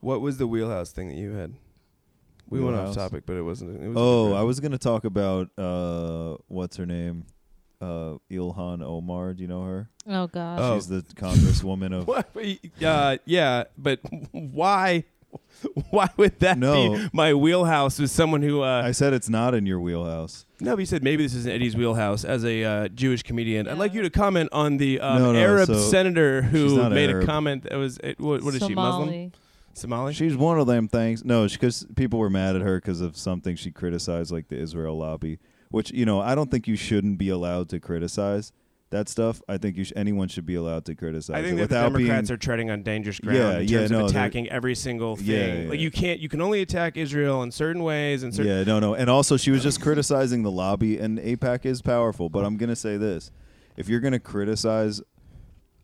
What was the wheelhouse thing that you had? We went off
Wheelhouse?
topic, but it wasn't. It was
Oh, I was gonna talk about uh, what's her name, uh, Ilhan Omar. Do you know her?
Oh gosh.
Oh.
She's the congresswoman of.
What? Uh, yeah, but why? Why would that be
No.
my wheelhouse? Is someone who uh,
I said it's not in your wheelhouse.
No, but you said maybe this is in Eddie's wheelhouse as a uh, Jewish comedian. I'd like you to comment on the um,
No, no,
Arab
so-
senator
She's
who
not
made
Arab.
a comment that was it, what, what is she Muslim
Somali.
Somali?
She's one of them things. No, because people were mad at her because of something she criticized, like the Israel lobby, which you know I don't think you shouldn't be allowed to criticize that stuff. I think you sh- anyone should be allowed to criticize
I think
it
that the
without
Democrats
being.
are treading on dangerous ground
Yeah,
in
yeah,
terms
no,
of
they're-
attacking every single thing.
Yeah, yeah,
like
yeah.
you can't, you can only attack Israel in certain ways and certain.
yeah, no, no, and also she was just criticizing the lobby, and APAC is powerful.
Uh-huh.
But I'm gonna say this: if you're gonna criticize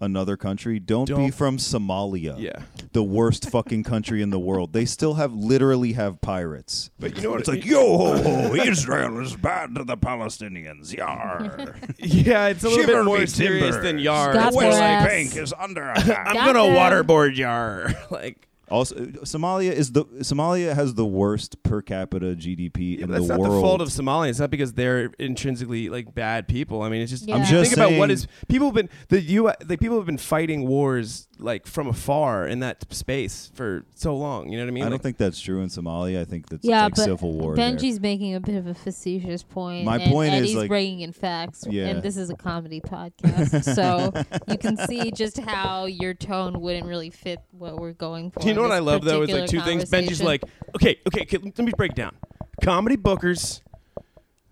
another country, don't, be
Don't-
from Somalia,
Yeah.
the worst fucking country in the world. They still have literally have pirates.
But you know what?
It's like, yo ho ho, Israel is bad to the Palestinians. Yar.
yeah, it's a little
Shiver
bit more
me
serious
timbers.
than yar.
Got
It's more
their
like,
ass.
Bank is under attack.
Got
I'm gonna
them.
waterboard yar. like
Also, Somalia is the Somalia has the worst per capita GDP in
that's
the
not
world.
the fault of Somalia. It's not because they're intrinsically like bad people. I mean, it's just
I'm
you
just
think about what
saying-
is people have been the U. Like people have been fighting wars like from afar in that space for so long. You know what I mean?
I don't
Like,
think that's true in Somalia. I think that's
yeah,
like
but
civil war. there.
Benji's making a bit of a facetious point.
My
and
point is,
Eddie's
like-
bringing in facts,
Yeah.
and this is a comedy podcast, so you can see just how your tone wouldn't really fit what we're going for.
Do you know
in
what I
this
love though is like two
particular
things. Benji's
conversation.
like, okay, okay, okay, let me break down. Comedy bookers,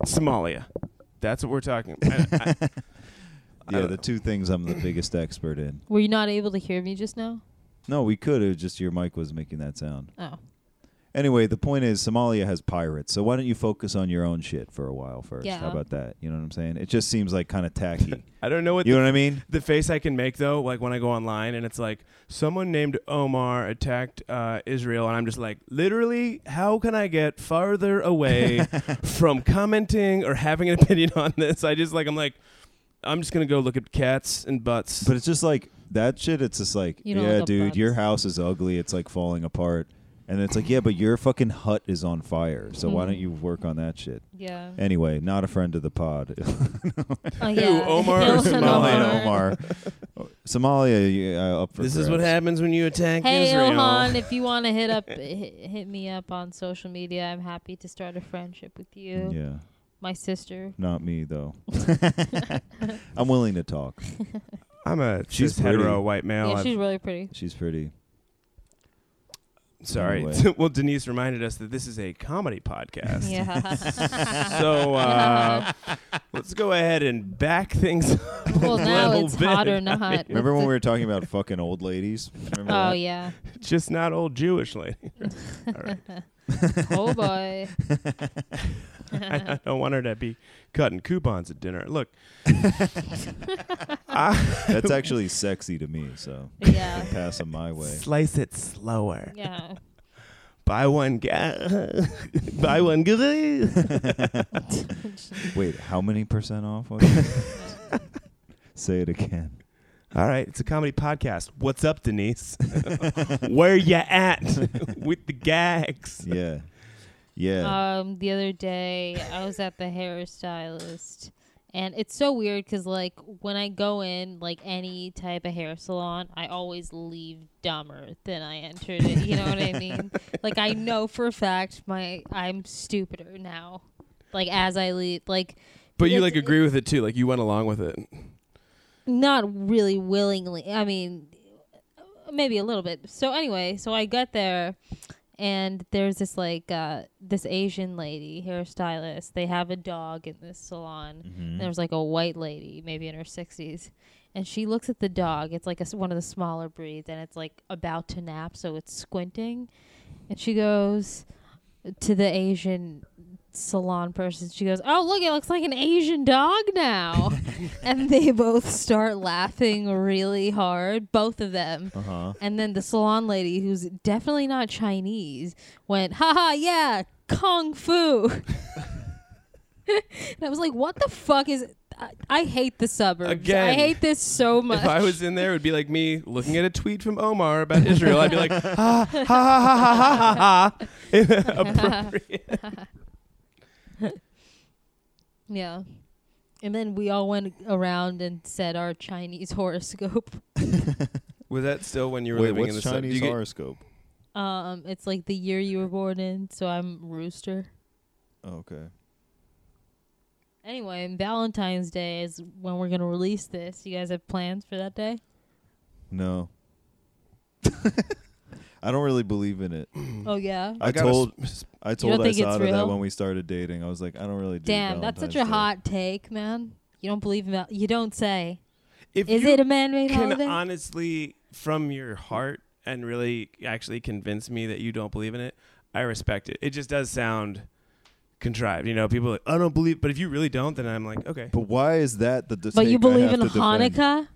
Somalia. That's what we're talking. I, I, I
yeah,
don't
the
know.
two things I'm the biggest expert in.
"Were you not able to hear me just now?"
No, we could. It was just your mic was making that sound.
Oh,
Anyway, the point is Somalia has pirates, so why don't you focus on your own shit for a while first?
Yeah.
How about that? You know what I'm saying? It just seems like kind of tacky.
I don't know what
you know what I mean?
the face I can make though, like when I go online and it's like someone named Omar attacked uh, Israel, and I'm just like, literally, how can I get farther away from commenting or having an opinion on this? I just like, I'm like, I'm just gonna go look at cats and butts.
But it's just like that shit. It's just like,
You don't
yeah,
look up
dude,
bugs.
your house is ugly. It's like falling apart, and it's like, yeah, but your fucking hut is on fire. So why don't
Mm.
you work on that shit?
yeah.
Anyway, not a friend of the pod.
Oh, yeah.
Omar or
Ilhan
Somalia?
Omar. Somalia, you- uh, up for
this is what
grabs.
happens when you attack
Hey
Israel.
Ilhan, if you want to hit up, hit, hit me up on social media. I'm happy to start a friendship with you,
Yeah,
my sister.
not me though. I'm willing to talk.
I'm a
She's
she's hetero
pretty.
white male.
Yeah,
I've-
she's really pretty.
She's pretty.
sorry.
Anyway.
well, Denise reminded us that this is a comedy podcast.
Yeah.
So uh, let's go ahead and back things up.
well,
a
now
little
it's
bit.
hot or not.
Remember when we were talking about fucking old ladies? Remember
Oh
that?
yeah.
just not old Jewish lady. All right.
Oh boy.
I don't want her to be cutting coupons at dinner. Look, I-
That's actually sexy to me. So
Yeah.
pass them my way.
slice it slower.
Yeah.
Buy one guy. Buy one guy.
Wait, how many percent off was it? Say it again.
All right, it's a comedy podcast. What's up, Denise? Where you at with the gags?
Yeah. Yeah.
Um, the other day I was at the hairstylist, and it's so weird because like when I go in like any type of hair salon, I always leave dumber than I entered it. You know what I mean? Like I know for a fact my I'm stupider now. Like as I leave, like
But you
It's-
like agree with it too. Like you went along with it.
not really willingly. I mean, maybe a little bit. So anyway, so I got there, and there's this like uh, this Asian lady hairstylist. They have a dog in this salon. And there was like a white lady, maybe in her sixties, and she looks at the dog. It's like a s one of the smaller breeds, and it's like about to nap, so it's squinting, and she goes to the Asian salon person. She goes, "Oh, look, it looks like an Asian dog now." and they both start laughing really hard, both of them.
Uh
Uh-huh.
huh.
And then the salon lady, who's definitely not Chinese, went, haha, yeah, kung fu. and I was like, what the fuck is. I, I hate the suburbs. I
Again.
hate this so much.
If I was in there, it would be like me looking at a tweet from Omar about Israel. I'd be like, ha ha ha ha ha ha ha. Appropriate.
yeah. And then we all went around and said our Chinese horoscope.
Was that still when you were
Wait,
living in the
what's
sub- do
Chinese
you get-
horoscope?
Um, it's like the year you were born in, so I'm rooster.
Oh, okay.
Anyway, and Valentine's Day is when we're gonna release this. You guys have plans for that day?
No. I don't really believe in it.
Oh yeah.
Mm. I,
got a
told
s-
I told
don't think it's
Asada that
real?
when we started dating, I was like, I don't really. Do
Damn, that's such a
Valentine's
hot take, man. You don't believe in Val- you don't say.
if
Is
you
it a man-made
can
holiday?
honestly, from your heart, and really actually convince me that you don't believe in it, I respect it. It just does sound contrived. You know, people are like, I don't believe, but if you really don't, then I'm like, okay.
Day. But why is that the?
but you
take I
believe
have
in
to defend?
Hanukkah?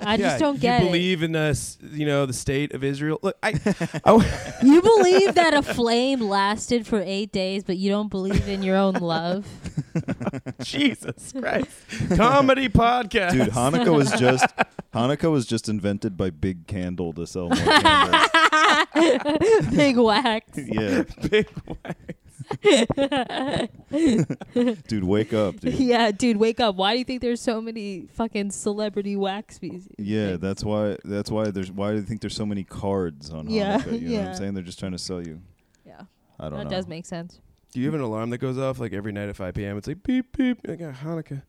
I
Yeah,
just don't get
You
it.
believe in us, you know, the state of Israel. Look, I, I
You believe that a flame lasted for eight days, but you don't believe in your own love.
Jesus Christ, comedy podcast.
Dude, Hanukkah was just Hanukkah was just invented by Big Candle to sell more candles.
Big wax.
yeah,
Big wax.
dude, wake up, dude.
Yeah, dude, wake up. Why do you think there's so many fucking celebrity wax species?
Yeah, that's why. That's why there's. Why do you think there's so many cards on
Yeah,
Hanukkah? You know what
yeah.
I'm saying? They're just trying to sell you.
Yeah.
I don't
That
know.
does make sense.
Do you have an alarm that goes off like every night at 5 p.m.? It's like beep beep. I got Hanukkah.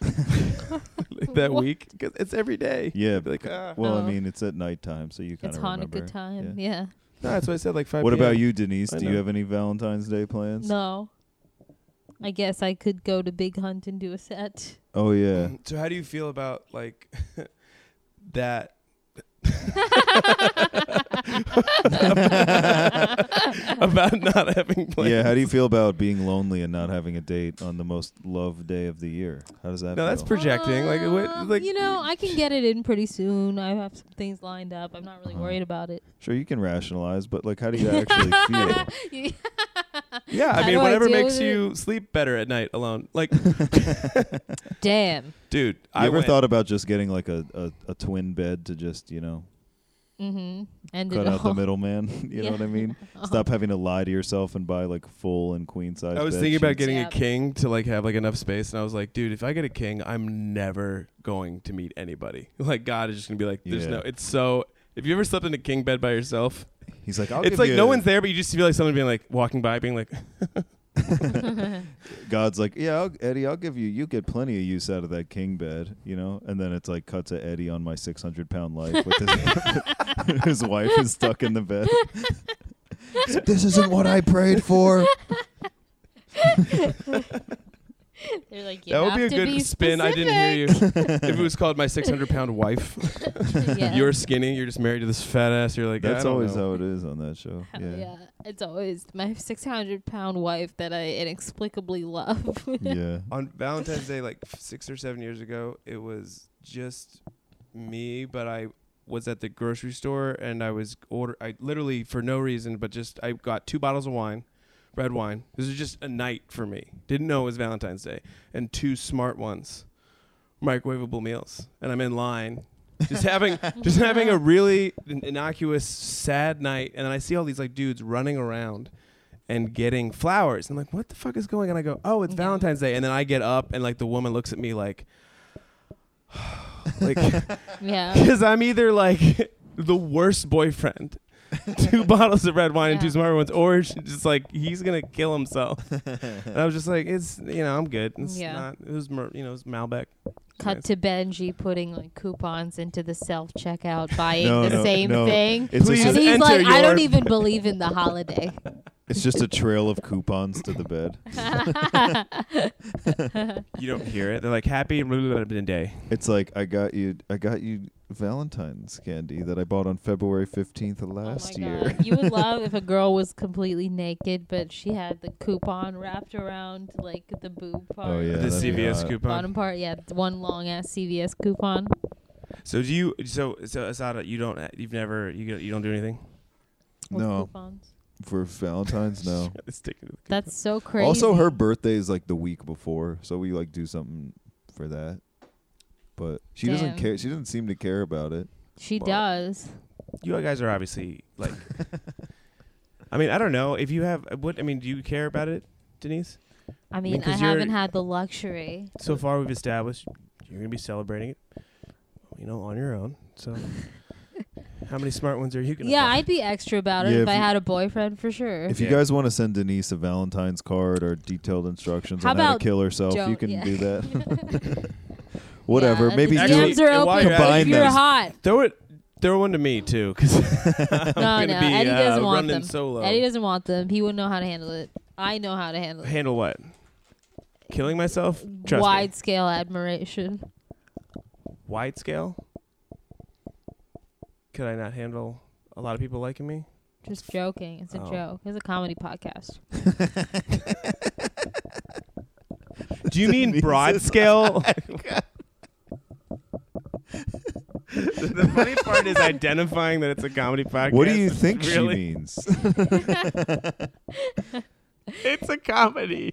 like that
What?
week, 'Cause it's every day.
yeah,
I'd be like, ah.
well, I
Oh.
mean, it's at nighttime, so you kind
It's
of
Hanukkah
remember.
time.
Yeah.
Yeah.
No, that's what I said. Like 5.
What
p.m.
about you, Denise?
I
Do you
know.
have any Valentine's Day plans?
No. I guess I could go to Big Hunt and do a set.
Oh yeah.
Mm, So how do you feel about like that? about not having plans.
Yeah, how do you feel about being lonely and not having a date on the most loved day of the year? How does that
No,
feel?
that's projecting. like, what,
Um,
like
you know, I can get it in pretty soon. I have some things lined up. I'm not really
Uh-huh.
worried about it.
Sure, you can rationalize, but like how do you actually feel?
yeah.
How
I
do
mean,
I
whatever
deal
makes
with it?
you sleep better at night alone. Like,
Damn.
dude,
You
I
ever
went-
thought about just getting like a, a, a twin bed to just, you know,
Mm-hmm. And
cut out the middleman? you
Yeah.
know what I mean? Stop having to lie to yourself and buy like full and queen size.
I was
bed
thinking about
sheets.
getting
Yeah.
a king to like have like enough space, and I was like, dude, if I get a king, I'm never going to meet anybody. Like God is just gonna be like, there's
Yeah.
no. It's so. If you ever slept in a king bed by yourself,
He's like, I'll
it's
give
like
you
no
a-
one's there, but you just feel like someone being like walking by, being like,
God's like, yeah, I'll, Eddie, I'll give you. You get plenty of use out of that king bed, you know. And then it's like cut to Eddie on my six hundred pound life with his, his wife is stuck in the bed. He's like, this isn't what I prayed for.
They're like, you
that would
have
be a
to
good
be
spin. I didn't hear you. if it was called my 600 pound wife,
specific. yeah.
you're skinny, you're just married to this fat ass. You're like, I
That's
don't
always
know.
how it is on that show.
Hell
Yeah,
yeah. It's always my 600 pound wife that I inexplicably love.
yeah.
on Valentine's Day, like f- six or seven years ago, it was just me, but I was at the grocery store and I was order. I literally for no reason, but just I got two bottles of wine, red wine. This was just a night for me. Didn't know it was Valentine's Day, and two smart ones, microwavable meals, and I'm in line. just having just having a really in- innocuous sad night and then i see all these like dudes running around and getting flowers. I'm like, what the fuck is going on? I go, oh, it's Valentine's Day. And then I get up and like the woman looks at me like, like,
yeah.
because I'm either like the worst boyfriend, two bottles of red wine and two
Yeah.
smart ones, or she's just like he's gonna kill himself. and I was just like, it's you know, I'm good. It's
Yeah.
not. It was mer- you know, it was Malbec.
Cut to Benji putting like coupons into the self checkout, buying
No,
the
no,
same
no.
thing.
It's,
Please.
just
And
Just
a,
he's
enter
like, I don't
your-
even believe in the holiday.
it's just a trail of coupons to the bed.
You don't hear it. They're like happy blah, blah, blah, blah, day.
It's like I got you, I got you Valentine's candy that I bought on February fifteenth of last
oh my
year.
God. you would love if a girl was completely naked, but she had the coupon wrapped around like the boob part.
Oh, yeah,
the
that'd be
CVS
hot.
coupon.
Bottom part, yeah, th- one long ass CVS coupon.
So do you? So so Asada, you don't. You've never. You you don't do anything.
with
No.
coupons.
for Valentine's? No.
It's sticking to the
That's so crazy.
Also, her birthday is like the week before, so we like do something for that. But she doesn't
Damn.
care. She doesn't seem to care about it.
she
Well.
does.
You guys are obviously like. I mean, I don't know if you have what. I mean, do you care about it, Denise?
I mean, I
'cause you're-
haven't had the luxury.
So far, we've established you're gonna be celebrating it, you know, on your own. So, how many smart ones are you gonna?
Yeah,
buy?
I'd be extra about it
Yeah,
if,
if
I
you-
had a boyfriend for sure.
If you
Yeah.
guys want to send Denise a Valentine's card or detailed instructions
How
on how to
about
kill herself, you
don't-
can
yeah.
do that. Whatever.
Yeah,
Maybe
the
do
do
Actually,
DMs
it.
are
and while
open.
you're at
If
it-
you're hot,
Throw it. Throw one to me too, because I'm
no,
gonna be
Eddie
uh,
doesn't want
running
them.
solo.
Eddie doesn't want them. He wouldn't know how to handle it. I know how to handle it.
Handle what? Killing myself? Trust
Wide scale admiration.
me. Wide scale. Could I not handle a lot of people liking me?
Just joking. It's a
Oh.
joke. It's a comedy podcast.
Do you mean broad scale? the funny part is identifying that it's a comedy podcast.
What do you think
Really?
she means?
It's a comedy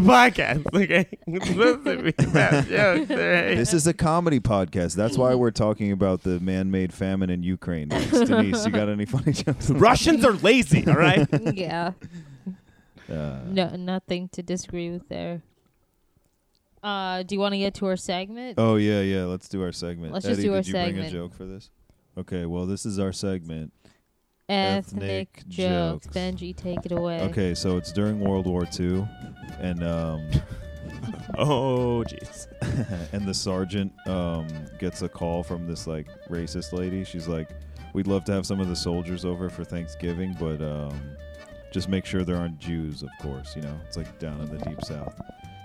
podcast. Okay, it's supposed to be about jokes. all right?
this is a comedy podcast. That's why we're talking about the man-made famine in Ukraine. Next. Denise, you got any funny jokes?
Russians are lazy. All right.
yeah.
Uh,
No, nothing to disagree with there. Uh, do you want to get to our segment?
Oh yeah, yeah. Let's do our segment.
Let's just
Eddie,
do our
did you bring a
segment.
joke for this? Okay. Well, this is our segment.
Ethnic,
ethnic
jokes.
jokes.
Benji, take it away.
Okay, so it's during World War II, and um,
Oh jeez.
and the sergeant um, gets a call from this like racist lady. She's like, "We'd love to have some of the soldiers over for Thanksgiving, but um, just make sure there aren't Jews, of course. You know, it's like down in the deep south."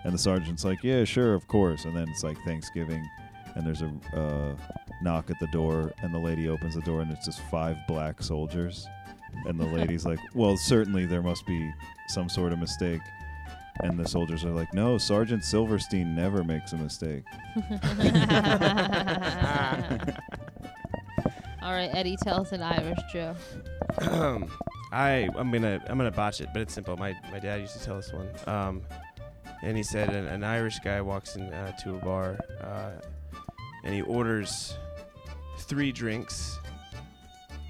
And the sergeant's like, "Yeah, sure, of course." And then it's like Thanksgiving, and there's a uh, knock at the door, and the lady opens the door, and it's just five black soldiers. And the lady's like, "Well, certainly there must be some sort of mistake." And the soldiers are like, "No, Sergeant Silverstein never makes a mistake."
All right, Eddie, tell us an Irish joke.
Um, I I'm gonna I'm gonna botch it, but it's simple. My my dad used to tell us one. Um, and he said an, an Irish guy walks in uh, to a bar, uh, and he orders three drinks,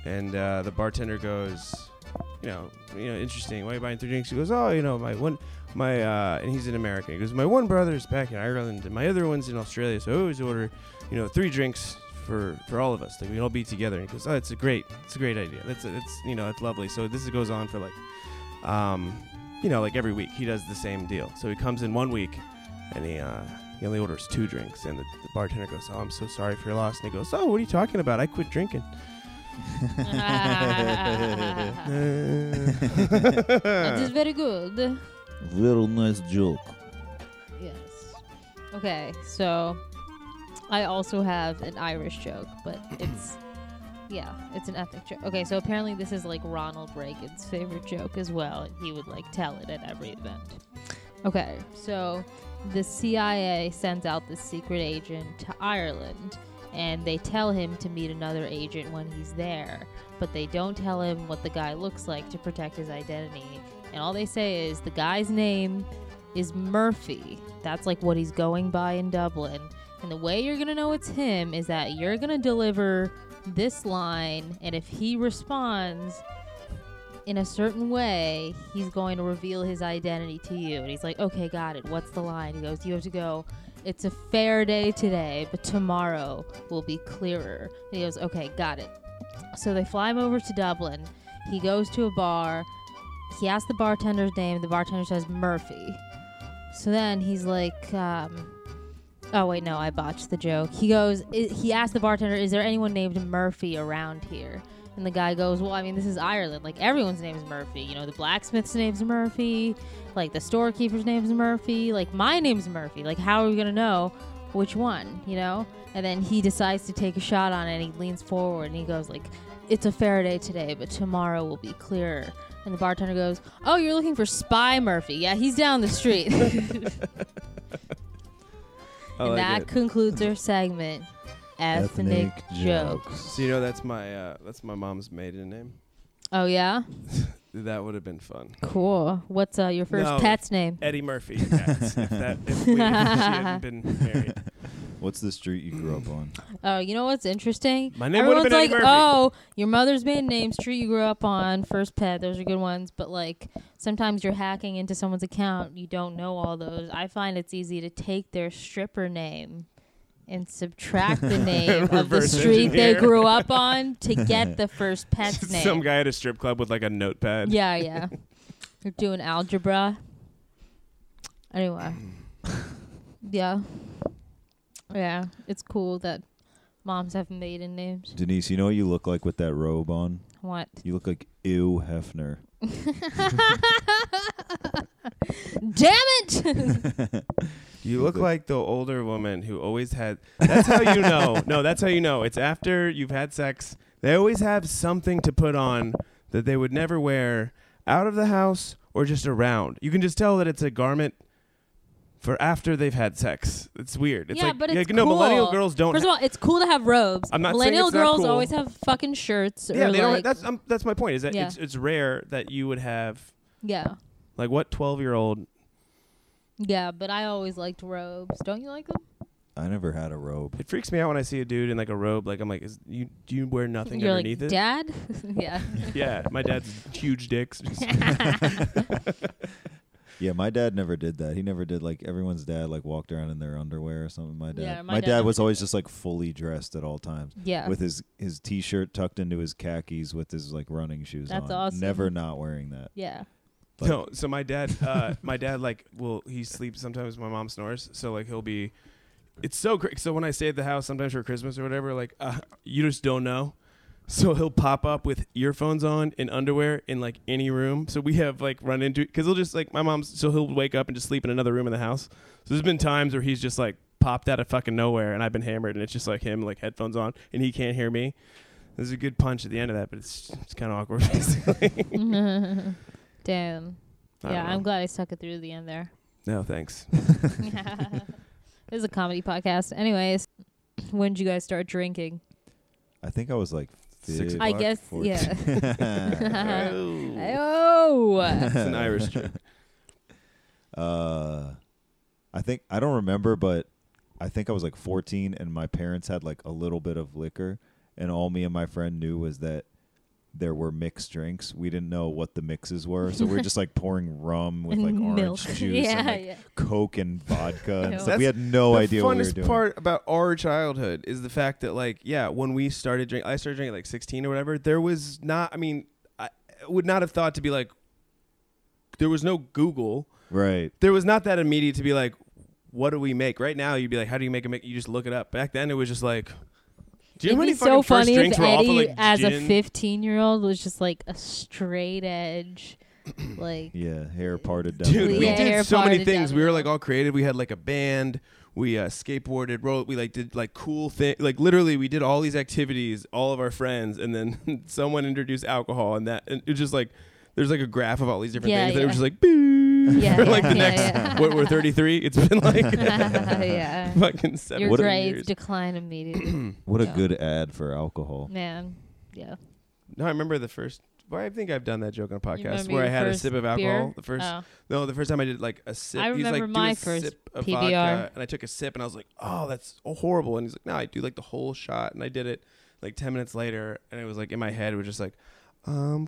and uh, the bartender goes, you know, you know, interesting. Why are you buying three drinks? He goes, oh, you know, my one my uh, and he's an American. He goes, my one brother's back in Ireland, and my other one's in Australia. So I always order, you know, three drinks for for all of us. Like we can all be together. And he goes, oh, it's a great, it's a great idea. That's it's you know, it's lovely. So this goes on for like, um, you know, like every week he does the same deal. So he comes in one week, and he uh, he only orders two drinks, and the, the bartender goes, oh, I'm so sorry for your loss. And he goes, oh, what are you talking about? I quit drinking.
That is very good.
Little nice joke.
Yes. Okay, so I also have an Irish joke, but it's yeah, it's an ethnic joke. Okay, so apparently this is like Ronald Reagan's favorite joke as well. He would like tell it at every event. Okay, so the CIA sends out this secret agent to Ireland and they tell him to meet another agent when he's there, but they don't tell him what the guy looks like to protect his identity. And all they say is the guy's name is Murphy. That's like what he's going by in Dublin. And the way you're going to know it's him is that you're going to deliver this line, and if he responds in a certain way, he's going to reveal his identity to you. And he's like, okay, got it. What's the line? He goes, you have to go. It's a fair day today, but tomorrow will be clearer. And he goes, okay, got it. So they fly him over to Dublin. He goes to a bar. He asks the bartender's name. The bartender says Murphy. So then he's like, um, oh, wait, no, I botched the joke. He goes, i he asked the bartender, is there anyone named Murphy around here? And the guy goes, well, I mean, this is Ireland. Like, everyone's name is Murphy. You know, the blacksmith's name's Murphy. Like, the storekeeper's name's Murphy. Like, my name's Murphy. Like, how are we going to know which one, you know? And then he decides to take a shot on it. And he leans forward and he goes, like, it's a fair day today, but tomorrow will be clearer. And the bartender goes, oh, you're looking for Spy Murphy. Yeah, he's down the street.
I
and
like
that
it.
concludes our segment, Ethnic, Jokes.
So you know that's my uh, that's my mom's maiden name.
Oh yeah,
That would have been fun.
cool. What's uh, your first
No.
pet's name?
Eddie Murphy. Yes, if that if we, if she hadn't been married.
What's the street you grew up on?
Oh, you know what's interesting?
My name would've
Everyone's
been
like,
Eddie Murphy.
oh, your mother's maiden name, street you grew up on, first pet. Those are good ones. But like, sometimes you're hacking into someone's account. You don't know all those. I find it's easy to take their stripper name and subtract the name of the
Reverse
street
engineer.
they grew up on to get the first pet's name.
Some guy at a strip club with like a notepad.
Yeah, yeah. You're doing algebra. Anyway. yeah. Yeah. It's cool that moms have maiden names.
Denise, you know what you look like with that robe on?
What?
You look like Ew Hefner.
Damn it!
You look like the older woman who always had. That's how you know. No, that's how you know. It's after you've had sex. They always have something to put on that they would never wear out of the house or just around. You can just tell that it's a garment for after they've had sex. It's weird. It's
yeah,
like,
but it's
like,
cool.
no millennial girls don't.
First of all, it's cool to have robes.
I'm not saying
millennial
it's not
girls
cool.
always have fucking shirts. Or
yeah, they
like,
don't. That's um, that's my point. Is that
Yeah.
it's it's rare that you would have
yeah,
like what twelve year old
yeah. But I always liked robes. Don't you like them?
I never had a robe.
It freaks me out when I see a dude in like a robe. Like I'm like, is you do you wear nothing
You're
underneath
like
it?
dad. yeah.
Yeah, my dad's huge dicks. Just-
Yeah, my dad never did that. He never did like everyone's dad like walked around in their underwear or something. My dad,
Yeah, my
my
dad
dad,
never
was
did
always just like fully dressed at all times.
Yeah.
with his his t-shirt tucked into his khakis with his like running shoes
That's
on.
awesome.
Never not wearing that.
yeah.
But-
no, so my dad, uh, my dad like, well, he sleeps sometimes. My mom snores, so like he'll be. It's so cra So when I stay at the house sometimes for Christmas or whatever, like uh, you just don't know. So he'll pop up with earphones on and underwear in like any room. So we have like run into because he'll just like my mom's. So he'll wake up and just sleep in another room in the house. So there's been times where he's just like popped out of fucking nowhere, and I've been hammered, and it's just like him, like headphones on, and he can't hear me. There's a good punch at the end of that, but it's it's kind of awkward. basically.
Damn.
I don't
Yeah,
know.
I'm glad I stuck it through to the end there.
No, thanks.
this is a comedy podcast. Anyways, when did you guys start drinking?
I think I was like
Six
fif-
I
Fuck,
guess,
fourteen.
yeah.
it's
oh,
an Irish joke.
Uh, I think I don't remember, but I think I was like 14, and my parents had like a little bit of liquor, and all me and my friend knew was that there were mixed drinks. We didn't know what the mixes were, so we were just like pouring rum with like orange
Milk.
juice
Yeah,
and like
yeah.
Coke and vodka.
Ew.
and stuff. We had no idea
the
Oh, what we were
funnest
doing.
part about our childhood is the fact that, like, yeah, when we started drinking, I started drinking at like 16 or whatever. There was not. I mean, I would not have thought to be like. There was no Google.
right?
There was not that immediate to be like, what do we make right now? You'd be like, how do you make a make? You just look it up. Back then, it was just like. Do you know
It'd
how
be so
many fucking first
funny
drinks
if
were off of,
Eddie,
like,
as a
gin?
15 year old, was just like a straight edge, like
Yeah, hair parted down.
Dude,
the
we
Yeah,
middle.
did
hair
so many
parted
things.
down
We
the middle.
were like all creative. We had like a band. We uh, skateboarded, rolled. We like did like cool thing. Like literally, we did all these activities, all of our friends, and then someone introduced alcohol, and that and it was just like there's like a graph of all these different
Yeah,
things. that it was
yeah.
just like boo.
Yeah,
for like
yeah,
the
yeah,
next
yeah.
what we're 33. It's been like
yeah.
fucking seven
Your
What a-
grades
years.
decline immediately.
What a
Yeah.
good ad for alcohol.
Man, yeah.
No, I remember the first. Well, I think I've done that joke on a
You
podcast
remember
where I
your
had a
first
sip of
beer?
alcohol. The first
Oh.
No, the first time I did like a sip.
I
he was like,
remember
"Do
my
a
first
sip of
PBR.
vodka," and I took a sip, and I was like, "Oh, that's horrible." And he's like, "No, I do like the whole shot," and I did it like ten minutes later, and it was like in my head, it was just like, "I'm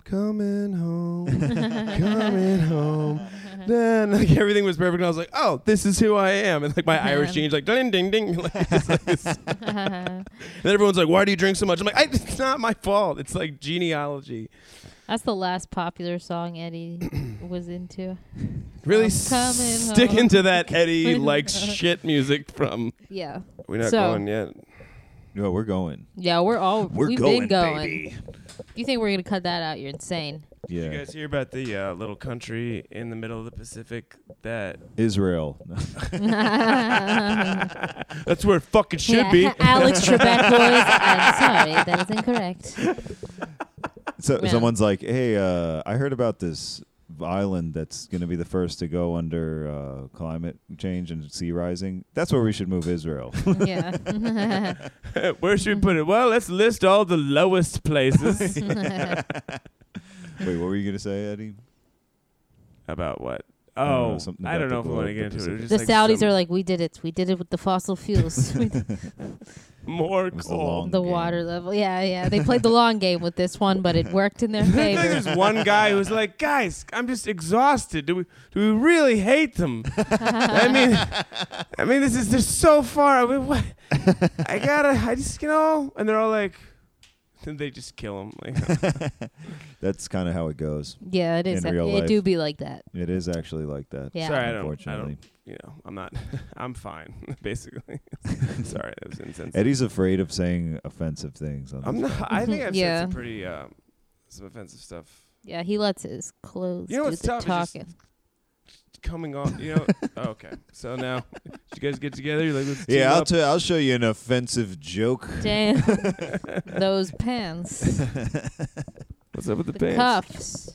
coming home, coming home." Then like everything was perfect, and I was like, "Oh, this is who I am," and like my
Uh-huh.
Irish genes like ding ding ding. Like, it's like this- and everyone's like, "Why do you drink so much?" I'm like, I, "It's not my fault. It's like genealogy."
That's the last popular song Eddie was into.
Really
I'm coming
stick
home.
into that Eddie likes shit music from.
Yeah.
We're
not So- going
yet.
No, we're going.
Yeah, we're all
We're
we've
going,
been going.
baby.
You think we're gonna cut that out? You're insane.
Yeah,
You guys hear about the uh, little country in the middle of the Pacific that
Israel.
that's where it fucking should be.
Uh-huh. Alex Trebek was. I'm sorry, that is incorrect.
So
Yeah.
someone's like, "Hey, uh, I heard about this island that's going to be the first to go under uh, climate change and sea rising. That's where we should move Israel."
Yeah.
where should we put it? Well, let's list all the lowest places.
gonna say, Eddie?
About what?
I don't know,
Oh,
something
I don't know
about the
if we want to
globe, the
get into it. It was
The
just
Saudis
some
are like, we did it. We did it with the fossil fuels, We did
more
It was the
coal.
long-
the
game.
water level. Yeah, yeah. They played the long game with this one, but it worked in their
I think
favor.
there's one guy who's like, guys, I'm just exhausted. Do we do we really hate them? I mean, I mean, this is they're so far. I mean, what? I gotta, I just you know, and they're all like, then they just kill him. Like,
That's kind of how it goes.
yeah, it is.
In real
it
life.
do be like that.
It is actually like that.
Yeah.
sorry, I don't, I
unfortunately.
don't, you know, I'm not, I'm fine, basically. sorry, that was insensitive.
Eddie's afraid of saying offensive things. On
I'm
this
not. I think I've
Yeah.
said some pretty um, some offensive stuff.
Yeah, he lets his clothes
You know
do
what's
the
tough is just-
talking.
Coming on, you know. okay, so now did you guys get together. You're like, let's team
yeah, I'll
up.
tell. I'll show you an offensive joke.
Damn, those pants,
What's up with the,
the
pants?
cuffs.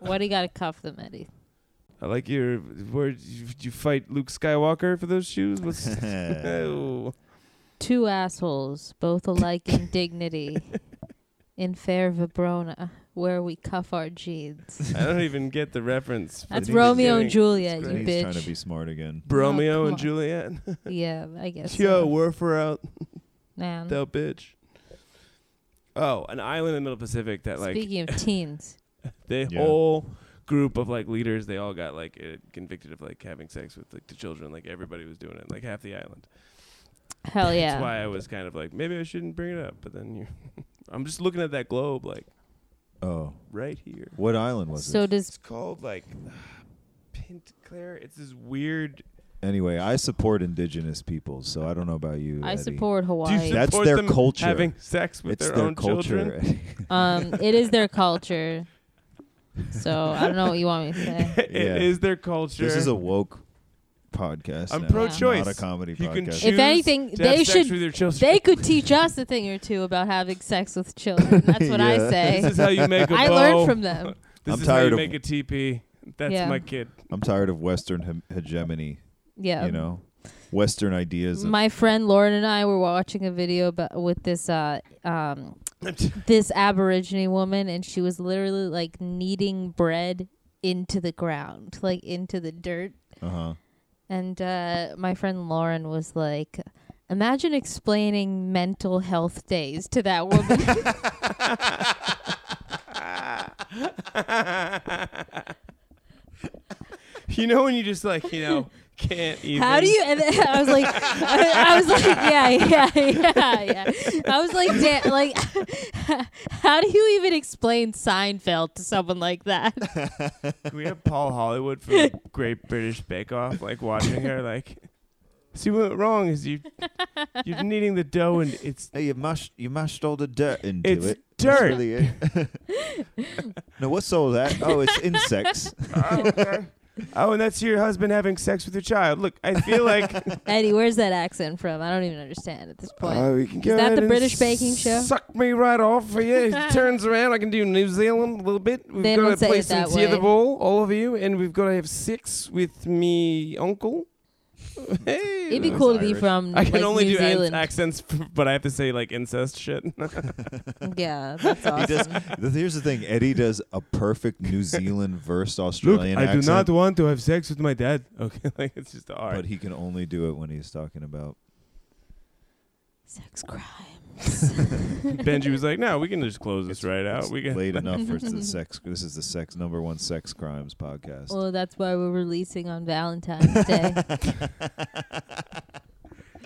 What do you got to cuff them, Eddie?
I like your where did you, did you fight Luke Skywalker for those shoes. What's oh.
Two assholes, both alike in dignity, in fair Vibrona, where we cuff our jeans.
I don't even get the reference. for
That's
what he's
Romeo
doing.
and Juliet, you
great.
He's trying to be
bitch.
smart again.
Romeo
Oh, come
and
on. Mm-hmm.
Juliet.
Yeah, I guess.
Yo,
so.
we're for out
man.
that bitch. Oh, an island in the middle Pacific that like
Speaking of teens,
the
Yeah.
whole group of like leaders they all got like uh, convicted of like having sex with like the children like everybody was doing it like half the island
hell
that's
yeah.
why i was kind of like maybe i shouldn't bring it up but then you i'm just looking at that globe like
Oh,
right here
what island was
So
it?
does
it's called like pint claire it's this weird
Anyway, I support indigenous peoples, so I don't know about you.
I
Eddie.
support
Do you
Hawaii.
That's
support
their
them
culture.
having sex with
It's
their,
their,
own
culture.
children
um, it is their culture. So I don't know what you want me to say.
It
Yeah.
is their culture
This is a woke podcast.
I'm
now.
pro-choice.
Not a comedy
You can
podcast.
choose-
If anything,
to have
they
sex
should.
with their children
They could teach us a thing or two about having sex with children. That's what I
Yeah.
say.
this is how you make a
I
bow.
learned from them.
this
I'm
is
tired
how you
of-
make a tp that's
Yeah.
my kid
I'm tired of Western hem- hegemony.
Yeah.
You know, Western ideas. of-
Um, My friend Lauren and I were watching a video about, with this uh, um, this Aborigine woman, and she was literally like kneading bread into the ground, like into the dirt.
uh-huh.
And uh, my friend Lauren was like, "Imagine explaining mental health days to that woman."
you know when you just like you know can't even
How do you? And then I was like, I, I was like, yeah, yeah, yeah, yeah. I was like, da- like, how do you even explain Seinfeld to someone like that?
Can we have Paul Hollywood from Great British Bake Off, like watching her, like, see what went wrong is you, you're kneading the dough and it's
Hey, you mashed you mashed all the dirt into
It's
it.
dirt.
really it. now what's all that? Oh, it's insects.
oh, okay. oh, and that's your husband having sex with your child. Look, I feel like
Eddie, where's that accent from? I don't even understand at this point.
Uh,
Oh, we can go
that
ahead
the
and
British baking show?
Suck me right off for you. It turns around. I can do New Zealand a little bit. We've
They
got
don't
to
say
play
it
some
that
tear the
way.
ball, all of you, and we've got to have sex with me uncle. Hey,
It'd be
That's
cool to be
Irish.
from
I can
like,
only
New
do ac-
Zealand.
accents, but I have to say like incest shit.
yeah, that's awesome.
The- Here's the thing. Eddie does a perfect New Zealand versus Australian accent,
want to have sex with my dad. Okay, like it's just all
but
right.
he can only do it when he's talking about.
Sex crime.
Benji was like, "No, we can just close this right out.
it's
We can."
late enough for the sex. This is the sex number one sex crimes podcast.
Well, that's why we're releasing on Valentine's Day.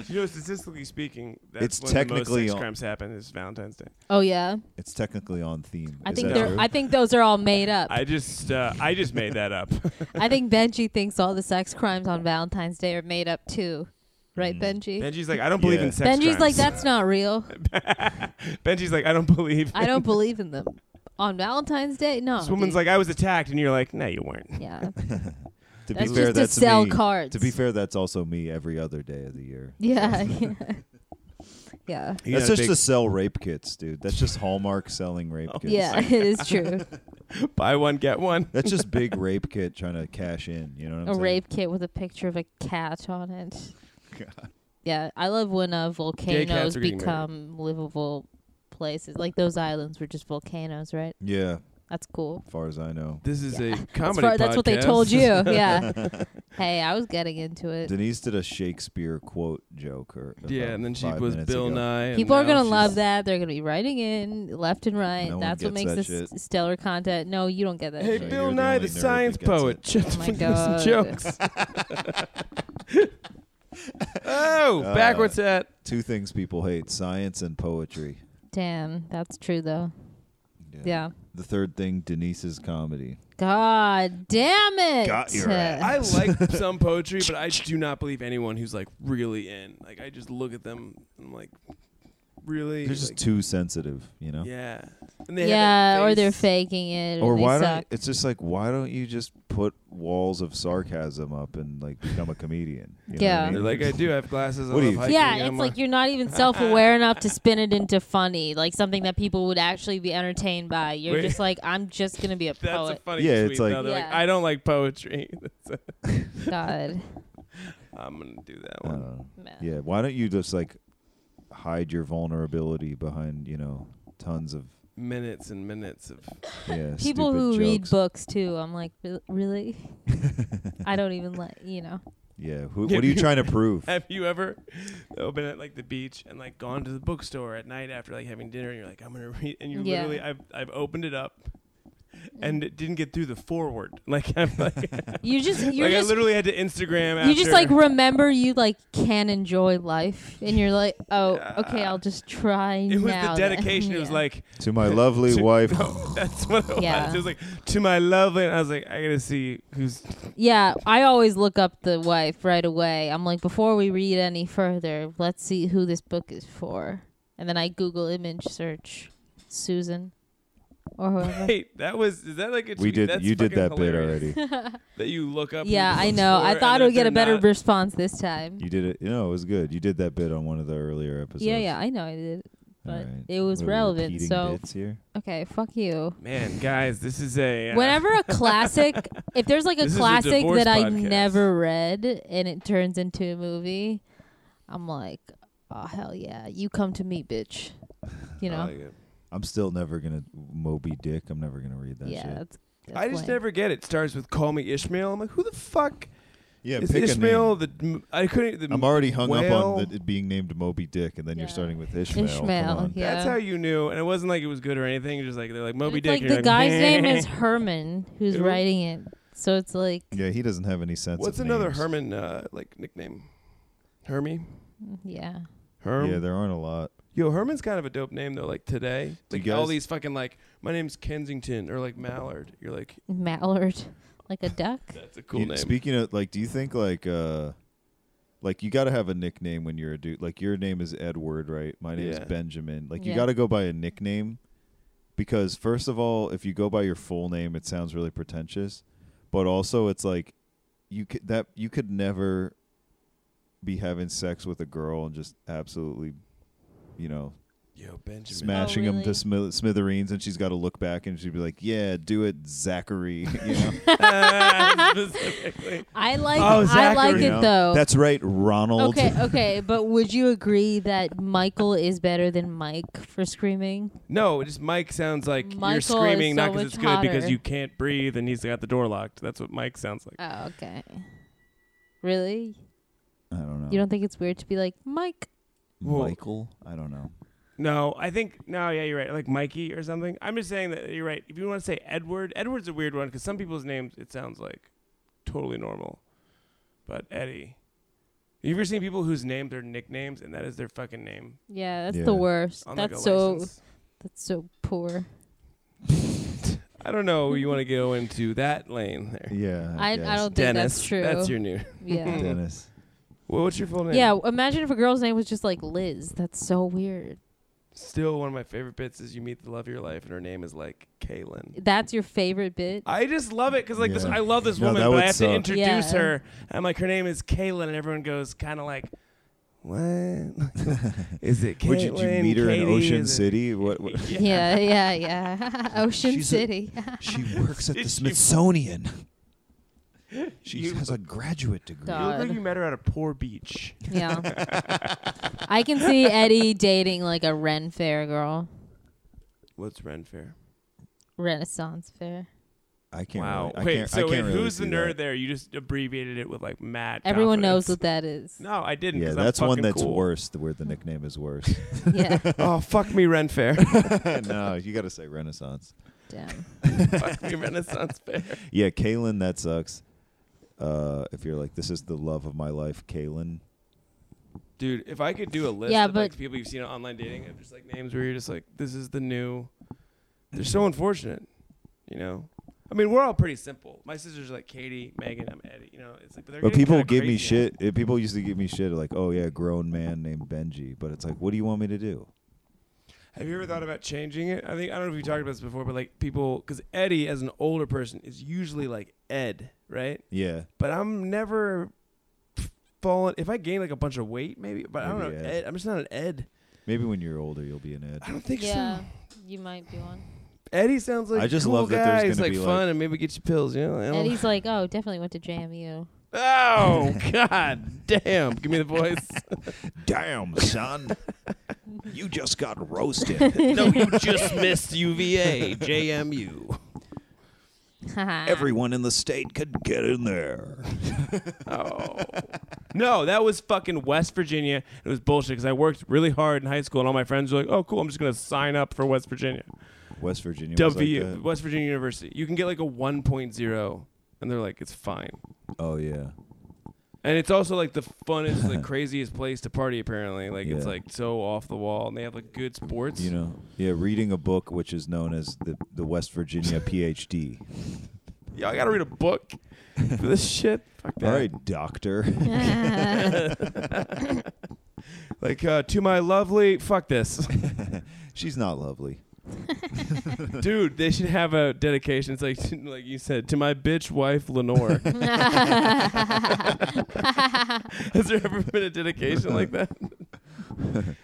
You know, statistically speaking, that's
It's
when the
technically
most sex
on-
crimes happen is Valentine's Day.
oh yeah,
It's technically on theme.
I
Is
think
that
they're.
true?
I think those are all made up.
I just, uh, I just made that up.
I think Benji thinks all the sex crimes on Valentine's Day are made up too, right,
Hmm.
Benji?
Benji's like, I don't believe
Yeah.
in sex.
Benji's like,
crimes."
that's not real.
Benji's like, I don't believe.
I don't believe in them. On Valentine's Day, no.
This woman's
dude.
like, I was attacked, and you're like, No, you weren't.
yeah,
to
that's
be fair,
just to
that's
sell
me.
cards.
To be fair, that's also me every other day of the year.
yeah, yeah, yeah,
You
that's
got a
just to sell rape kits, dude. That's just Hallmark selling rape
Oh,
kits.
yeah. It is true.
big buy one get one.
That's just big rape kit trying to cash in. You know what I'm
A
saying?
rape kit with a picture of a cat on it.
God.
Yeah, I love when uh, volcanoes
are getting married.
become livable places. Like those islands were just volcanoes, right?
Yeah.
That's cool.
far as I know.
This is a
That's,
comedy.
far- that's what they
podcast.
told you. Yeah. hey, I was getting into it.
Denise did a Shakespeare quote joke. Or
Yeah,
about
and then she
five
was
minutes
Bill
ago.
Nye. and
People are
now
gonna
she's-
love that. They're gonna be writing in left and right.
No one
That's what
gets
makes
that
this
shit.
stellar content. No, you don't get that.
Hey,
shit.
So
Bill
you're the
Nye,
only
the
nerd that
science
gets it.
poet. Shut
Oh
up
my
and do some
God.
jokes. oh,
Uh,
backwards at.
Two things people hate: science and poetry.
Damn, that's true though. Yeah.
The third thing, Denise's comedy.
God damn it.
Got your ass.
I like some poetry, but I do not believe anyone who's like really in. Like I just look at them. and I'm like, really?
They're just
Like,
too sensitive, you know.
yeah. And have
yeah,
that
or they're
face.
faking it, or,
Or
they
why
suck.
don't it's just like why don't you just put walls of sarcasm up and like become a comedian? You know what I
Yeah.
mean?
They're like, I do have glasses. I
What do
love
you-
hiking,
yeah,
I'm
it's
a-
like you're not even self-aware enough to spin it into funny, like something that people would actually be entertained by. You're
Wait.
just like, I'm just gonna be a
That's a
poet.
funny
Yeah,
tweet.
it's like-
though. They're like,
Yeah.
I don't like poetry. That's a-
God,
I'm gonna do that
I don't
one.
know.
man.
Yeah, why don't you just like hide your vulnerability behind you know tons of
Minutes and minutes of.
yeah
People
stupid
who read
jokes.
books too, I'm like, "Re- really? I don't even like, you know.
Yeah, who, what are you trying to prove?
Have you ever been at like the beach and like gone to the bookstore at night after like having dinner and you're like, I'm gonna read and you
Yeah.
literally I've I've opened it up and it didn't get through the forward. Like I'm like,
You just, you're
like I
just
literally had to Instagram after
you just like remember you like can enjoy life and you're like oh okay i'll just try
it was
now
the
then."
dedication. It was
Yeah.
like
to my lovely
To-
wife.
that's what it
Yeah.
was. It was like to my lovely and I was like, I gotta see who's
yeah i always look up the wife right away i'm like before we read any further let's see who this book is for and then i google image search susan or whoever
Wait, that was is that like a
we
tweet?
did
That's
you did
fucking
that
hilarious.
bit already.
That you look up.
yeah
who the
i know
books
i
were
thought
and
it
that
would get
they're
a better
not-
response this time
You did it. You know, it was good. You did that bit on one of the earlier episodes.
yeah yeah i know i did but
Alright.
it was
What are we
relevant
repeating
so
bits here?
okay fuck you
Man, guys, this is a uh,
Whenever a classic, if there's like a
This is a
classic
divorce
that I
podcast.
never read and it turns into a movie, I'm like, oh hell yeah, you come to me, bitch. You
I
know?
like it.
I'm still never gonna Moby Dick. I'm never gonna read that
yeah,
shit.
that's, that's
I just
lame.
never get it. Starts with "Call me Ishmael." I'm like, who the fuck
Yeah,
is Ishmael? The m- I couldn't. The,
I'm already hung up
Well-
on the, it being named Moby Dick, and then you're
Yeah.
starting with Ishmael. Come
Ishmael,
on.
yeah.
That's how you knew, and it wasn't like it was good or anything. It was Just like they're like
And
Moby
it's
Dick.
Like
and
the
you're
guy's name is
"Meh."
Herman, who's
Who?
writing it. So it's like,
Yeah, he doesn't have any sense.
What's
of
another
names.
Herman uh, like nickname? Hermie.
yeah,
Herm.
Yeah, there aren't a lot.
Yo, Herman's kind of a dope name though. Like today,
Do
like
you
all
guys-
these fucking like my name's Kensington or like Mallard. You're like
Mallard, like a duck.
that's a cool
You-
name.
Speaking of, like, do you think like, uh like you got to have a nickname when you're a dude? Like, your name is Edward, right? My name is
Yeah.
Benjamin. Like, you
Yeah.
got to go by a nickname because first of all, if you go by your full name, it sounds really pretentious, but also it's like you could that you could never be having sex with a girl and just absolutely, you know,
Yo, Benjamin.
smashing
Oh,
him to
really?
smi- smithereens, and she's got to look back and she'd be like, "Yeah, do it, Zachary." You know.
Specifically.
I like,
Oh,
I like
Zachary.
it
You know?
though.
That's right, Ronald.
Oh. okay, okay, but would you agree that Michael is better than Mike for screaming?
No, just Mike sounds like
Michael
you're
is
screaming not
so
because
much
it's good, because
hotter.
you can't breathe and he's got the door locked. That's what Mike sounds like.
Oh, okay. Really?
I don't know.
You don't think it's weird to be like Mike?
Well-
Michael? I don't know.
No, I think no. Yeah, you're right. Like Mikey or something. I'm just saying that you're right. If you want to say Edward, Edward's a weird one because some people's names it sounds like totally normal, but Eddie. You ever seen people whose names are nicknames and that is their fucking name?
Yeah, that's
Yeah.
the worst.
On
that's
like a
so
license?
that's so poor.
I don't know. You want to go into that lane there?
Yeah.
I, I
guess.
don't think
Dennis.
that's true.
That's your new. Hmm.
yeah.
Dennis.
Well, what's your full name?
yeah, imagine if a girl's name was just like Liz. That's so weird.
Still, one of my favorite bits is you meet the love of your life, and her name is like Kaylin.
That's your favorite
Uh,
bit?
I just love it because like this,
Yeah.
I love this
No,
woman,
that
but
would
I have to
suck.
introduce
Yeah.
her. I'm like, her name is Kaylin, and everyone goes kind of like, what? is it Kaylin?
Would you, did you meet her in
Katie?
Ocean
Is it-
City? What? what
Yeah, yeah, yeah. Ocean
She's a-
City.
she works at the
She-
Smithsonian. She
You-
has a graduate degree.
You look like
God.
you met her at a poor beach.
yeah. I can see Eddie dating like a Ren Fair girl.
What's Ren Fair?
Renaissance Fair.
I can't.
Wow.
Really, I
Wait,
can't, I
so wait,
can't really
who's the
see
nerd
that.
there? You just abbreviated it with like Matt.
Everyone knows what
confidence.
that is.
No, I didn't.
Yeah,
'cause I'm
that's one
fucking
that's
cool.
worse. th- Where the nickname is worse.
Yeah.
Oh fuck me, Ren Fair.
no, you got to say Renaissance.
Damn.
fuck me, Renaissance Fair.
Yeah, Kaylin, that sucks. Uh, if you're like, this is the love of my life, Kaylin.
Dude, if I could do a list
Yeah,
of like
but-
people you've seen on online dating, of just like names where you're just like, this is the new. They're so unfortunate, you know. I mean, we're all pretty simple. My sisters are like Katie, Megan, I'm Eddie. You know, it's like, but, they're
But
getting
people
kinda
give me
crazy now.
shit. eh, People used to give me shit like, oh yeah, grown man named Benji. But it's like, what do you want me to do?
Have you ever thought about changing it? I think I don't know if we talked about this before, but like people, because Eddie as an older person is usually like Ed, right?
Yeah,
But I'm never falling. If I gain like a bunch of weight, maybe. But I
Maybe
don't know.
Ed.
Ed. I'm just not an Ed.
maybe when you're older, you'll be an
I
Ed.
don't think
Yeah.
so.
You might be one.
Eddie sounds like
I just
cool
love
guy.
that there's
He's
gonna
like
be, like-
fun and maybe get you pills. You know. I don't-
Eddie's like, oh, definitely went to JMU.
Oh God, damn! Give me the voice.
Damn, son. you just got roasted.
no, you just missed UVA, JMU.
Everyone in the state could get in there.
Oh. No, that was fucking West Virginia. It was bullshit because I worked really hard in high school, and all my friends were like, "Oh, cool, I'm just gonna sign up for West Virginia."
West Virginia. was like
W
that.
West Virginia University. You can get like a 1.0, and they're like, "It's fine."
Oh yeah.
And it's also like the funnest, like craziest place to party. Apparently, like it's
Yeah.
like so off the wall, and they have like good sports.
You know, yeah, reading a book which is known as the the West Virginia PhD.
yeah, I gotta read a book for this shit. Fuck that.
All right, doctor.
Like uh, to my lovely, fuck this,
She's not lovely.
dude. They should have a dedication. It's like, like you said, to my bitch wife Lenore. Has there ever been a dedication like that?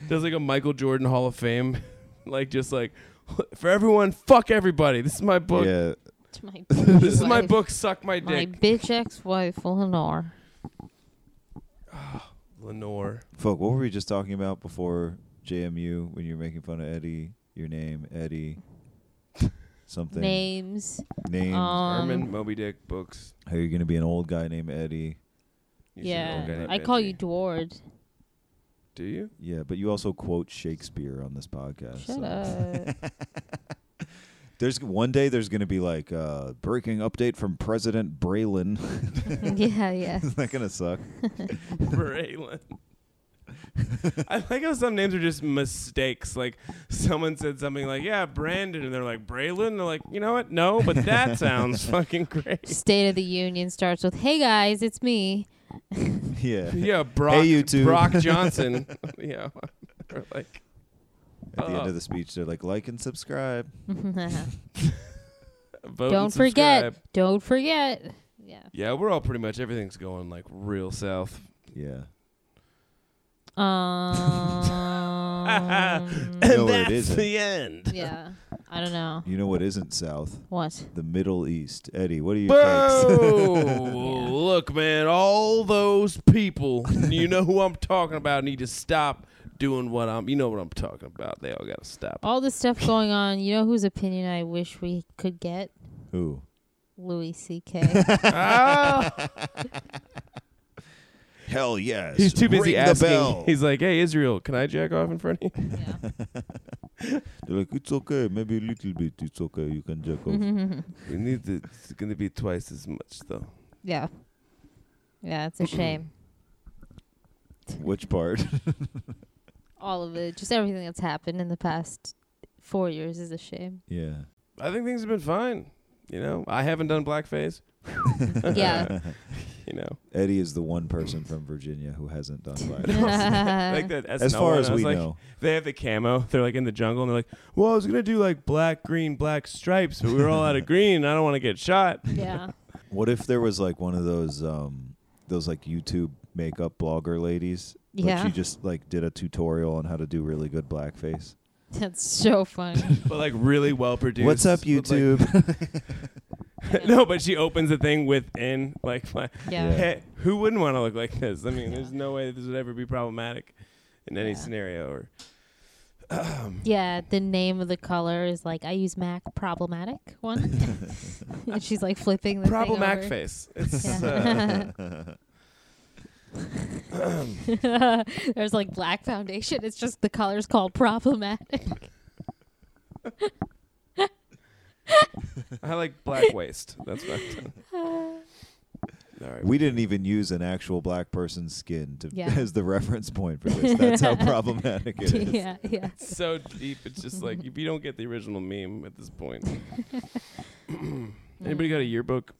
There's like a Michael Jordan Hall of Fame, like just like for everyone, fuck everybody. This is my book.
Yeah,
To my
This is my
bitch
book. Suck my
wife- My
dick,
bitch ex-wife Lenore.
Lenore.
fuck. What were we just talking about before JMU when you were making fun of Eddie? Your name, Eddie. Something.
Names.
Names.
Um,
Herman Moby Dick books.
How you're gonna be an old guy named Eddie?
You should
yeah.
look at
I
it,
call
Benji.
you Dward.
Do you?
Yeah, but you also quote Shakespeare on this podcast.
Shut
so-
up.
There's one day there's gonna be like uh breaking update from President Braylon.
yeah, yeah.
Isn't that gonna suck?
Braylon. I like how some names are just mistakes. Like someone said something like, "Yeah, Brandon," and they're like Braylon. They're like, you know what? No, but that sounds fucking great.
State of the Union starts with, "Hey guys, it's me."
yeah.
Yeah, Brock.
YouTube.
Brock Johnson. yeah, Or like
At the end
Uh.
of the speech, they're like, like and subscribe.
vote
don't
and
forget.
subscribe.
Don't forget. Yeah.
Yeah, we're all pretty much everything's going like real south.
Yeah.
Um,
You know what it
That's
isn't.
the end.
yeah. I don't know.
You know what isn't South?
What?
The Middle East. Eddie, what do you think?
Boo! Look, man, all those people, you know who I'm talking about, need to stop doing what I'm, you know what I'm talking about. They all got to stop.
All this stuff going on. You know whose opinion I wish we could get?
Who?
Louis C.K.
Hell yes.
He's too busy
Ring
asking.
The bell.
He's like, hey, Israel, can I jack off in front of you?
yeah.
They're like, it's okay, maybe a little bit. It's okay, you can jack
Mm-hmm.
off.
We need to, it's going to be twice as much, though.
Yeah. Yeah, it's a shame.
Which part?
All of it, just everything that's happened in the past four years is a shame.
yeah.
I think things have been fine. You know, I haven't done blackface.
Yeah.
You know,
Eddie is the one person from Virginia who hasn't done black.
like
yeah.
that.
as
SNL
far
one,
as
I was
we
like,
know.
They have the camo. They're like in the jungle, and they're like, "Well, I was gonna do like black, green, black stripes, but we were all out of green. and I don't want to get shot."
What if there was like one of those um those like YouTube makeup blogger ladies? but
Yeah.
she just like did a tutorial on how to do really good blackface.
That's so funny.
But like really well produced.
What's up,
with,
YouTube?
like- no, but she opens the thing within like, like
Yeah.
Yeah.
hey, who wouldn't want to look like this? I mean, there's no way this would ever be problematic in any
Yeah.
scenario. Or
Yeah, the name of the color is like I use Mac problematic one. and she's like flipping the
Problematic
thing
face. It's uh,
over. Yeah. There's like black foundation. It's just the color's called problematic.
I like black waist. That's what I've done. All right.
We didn't even use an actual black person's skin to
Yeah.
as the reference point for this. That's how problematic it is.
yeah, yeah.
It's so deep. It's just like if you don't get the original meme at this point. Anybody got a yearbook?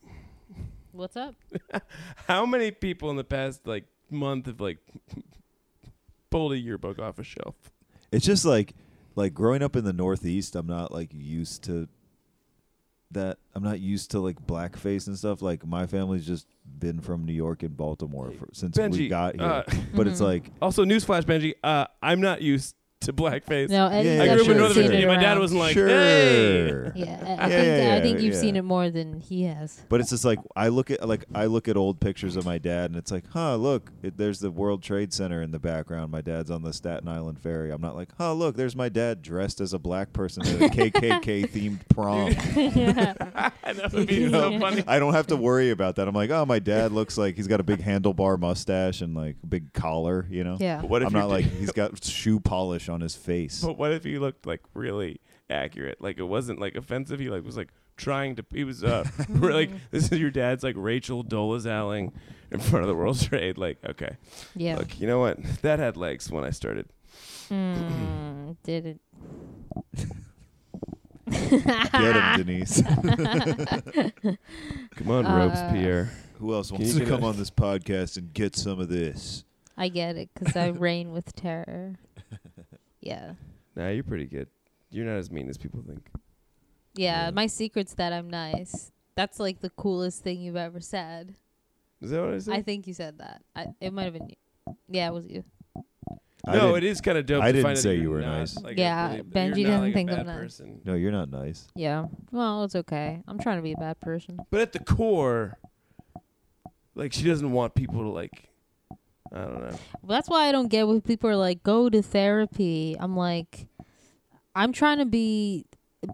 What's up?
How many people in the past like month have like pulled a yearbook off a shelf?
It's just like like growing up in the Northeast, I'm not like used to that. I'm not used to like blackface and stuff. Like my family's just been from New York and Baltimore for, since we
Benji,
got here.
uh,
but it's like
Also, newsflash, Benji. Uh, I'm not used to blackface.
No, Eddie's
Yeah,
I grew
definitely
up in
sure,
Northern
seen it
Virginia. My dad
around.
wasn't like,
sure.
hey.
Yeah, I,
Yeah,
I think
yeah,
I think you've
yeah.
seen it more than he has.
But it's just like I look at like I look at old pictures of my dad, and it's like, huh, look, it, there's the World Trade Center in the background. My dad's on the Staten Island ferry. I'm not like, huh, look, there's my dad dressed as a black person at a KKK themed prom.
that would be so funny.
I don't have to worry about that. I'm like, oh, my dad looks like he's got a big handlebar mustache and like a big collar, you know?
Yeah.
What if
I'm
you
not
did-
like he's got shoe polish on his face.
But what if he looked like really accurate? Like it wasn't like offensive. He like was like trying to. He was uh we're, like this is your dad's like Rachel Dolezalling in front of the World Trade. Like okay,
Yeah.
look, you know what? That had legs when I started.
Mm, did it?
Get him, Denise.
Come on,
Uh,
Robespierre.
Who else wants
you
to
get
come
a-
on this podcast and get some of this?
I get it because I reign with terror. Yeah.
Nah, you're pretty good. You're not as mean as people think.
yeah,
Yeah.
My secret's that I'm nice. That's like the coolest thing you've ever said.
Is that what I said?
I think you said that. I, it might have been you. Yeah, it was you.
I
no,
didn't-
it is kind of dope.
I
to
didn't
find out
say
you're
you were
not,
nice.
like, a
Yeah,
really-
Benji
you're not,
doesn't
like, a
think I'm
bad
nice.
person.
No, you're not nice.
Yeah. Well, it's okay. I'm trying to be a bad person.
But at the core, like she doesn't want people to like. I don't know.
Well, that's why I don't get when people are like, go to therapy. I'm like, I'm trying to be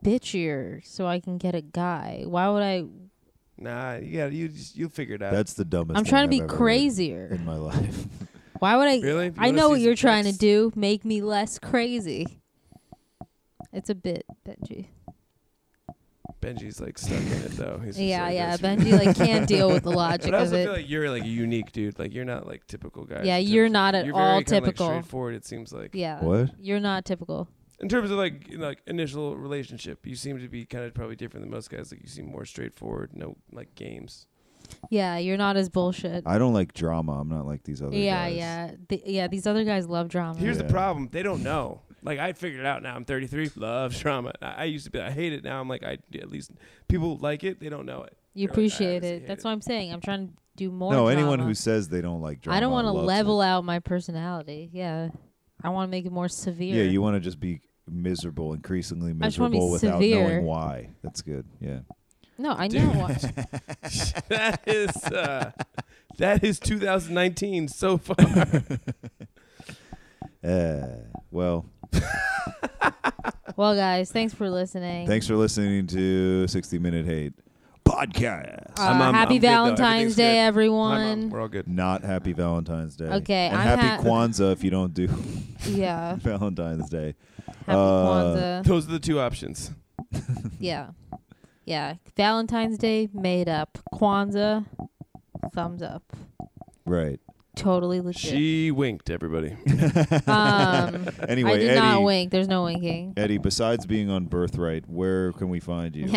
bitchier so I can get a guy. Why would I?
Nah, you got to you just you figure it out.
That's the dumbest.
I'm trying to
thing
be
I've ever heard
crazier.
in my life.
Why would I?
Really? You
I
wanna
know
see
what
some
you're trying to
pics?
do. Make me less crazy. It's a bit, Benji.
Benji's like stuck in it though. He's just,
yeah,
like,
yeah.
goes through-
Benji like can't deal with the logic
But I
of
also
it.
feel like you're like a unique dude. Like you're not like typical guy.
Yeah,
in terms
you're
of-
not at
you're
all
very kinda,
typical.
Like, straightforward. It seems like.
yeah.
What?
You're not typical.
In terms of like you know, like initial relationship, you seem to be kind of probably different than most guys. Like you seem more straightforward. No like games.
Yeah, you're not as bullshit.
I don't like drama. I'm not like these other
yeah,
guys.
yeah. The, yeah, these other guys love drama.
Here's
Yeah.
the problem: they don't know. Like I figured it out now. I'm 33. Love drama. I, I used to be. I hate it now. I'm like I at least people like it. They don't know it.
you
You're like, I
appreciate
obviously
it.
hate
That's
it.
why I'm saying I'm trying to do more.
No, anyone
drama.
who says they don't like drama.
I don't want to
loves
level
it.
out my personality. Yeah, I want to make it more severe.
Yeah, you want to just be miserable, increasingly
I just wanna be
miserable without
severe.
knowing why. That's good. Yeah.
No, I
Dude.
know. why-
that is uh, that is 2019 so far.
Uh, well,
well, guys, thanks for listening.
thanks for listening to 60 Minute Hate.
Podcast.
Uh,
I'm- I'm-
happy
I'm good, though.
Valentine's
Everything's
Day,
good.
everyone.
We're all good.
Not happy Valentine's Day.
Okay,
And
I'm
happy
ha-
Kwanzaa if you don't do
Yeah,
Valentine's Day.
happy
Uh,
Kwanzaa.
Those are the two options.
Yeah, yeah. Valentine's Day made up. Kwanzaa, thumbs up.
Right.
Totally legit.
She winked, everybody.
um,
Anyway,
I did
Eddie,
not wink. There's no winking.
Eddie, besides being on Birthright, where can we find you?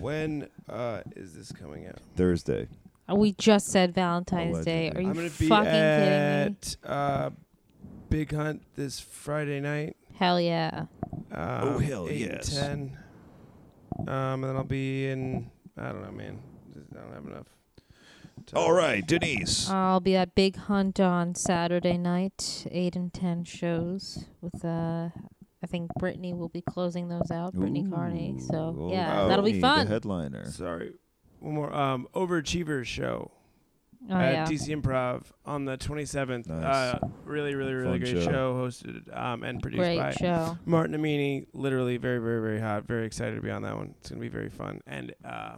When uh, is this coming out?
Thursday.
we just said Valentine's Day. Are
Allegedly.
you
I'm gonna be
fucking kidding me?
at uh, Big Hunt this Friday night.
Hell yeah.
Um,
Oh, hell
eight and
yes.
Ten. Um, and then I'll be in. I don't know, man. Just- I don't have enough. time.
All right, Denise.
I'll be at Big Hunt on Saturday night, eight and ten shows with uh I think Brittany will be closing those out, Brittany Carney. So
Ooh,
yeah,
oh,
that'll be
Brittany,
fun.
The headliner.
Sorry. One more. Um, Overachievers show.
Oh,
at
yeah.
TC Improv on the 27th.
Nice.
Uh, really, really,
Fun
really great
show.
show, hosted um, and produced
Great
by
show.
Martin Amini. Literally, very, very, very hot. Very excited to be on that one. It's gonna be very fun. And uh,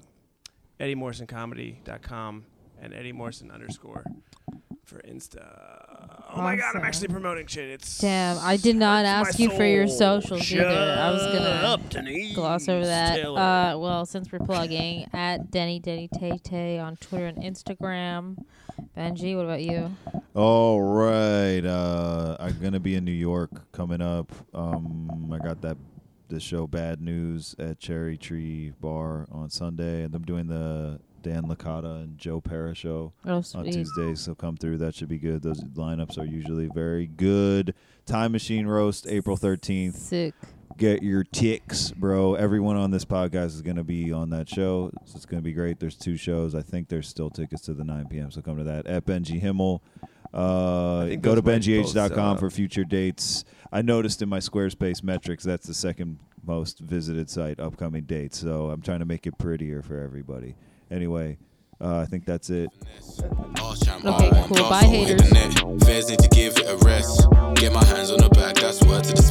EddieMorrisonComedy.com and Eddie Morrison underscore for Insta. Oh my God, I'm
Awesome.
actually promoting shit. It's
Damn, I did not
hurts
ask
my
you for your
soul.
socials
Shut
either. I was gonna
up, Denise
gloss over that.
Taylor.
Uh, well, since we're plugging at Denny Denny Tay Tay on Twitter and Instagram. Benji, what about you?
All right. Uh, I'm gonna be in New York coming up. Um, I got that the show Bad News at Cherry Tree Bar on Sunday, and I'm doing the Dan Licata and Joe Para show
Oh,
on
sweet.
Tuesday. So come through. That should be good. Those lineups are usually very good. Time Machine Roast, April 13th.
Sick.
Get your ticks, bro. Everyone on this podcast is going to be on that show. So it's going to be great. There's two shows. I think there's still tickets to the 9 p.m. So come to that at Benji Himmel. Uh,
I think
go to
those might uh, both sell
benjih.com
out.
for future dates. I noticed in my Squarespace metrics that's the second most visited site upcoming dates. So I'm trying to make it prettier for everybody. Anyway, uh, I think that's it.
Okay,
Okay,
cool. Bye, haters.
Feds need to give it a rest. Get my hands on the bag, that's word to the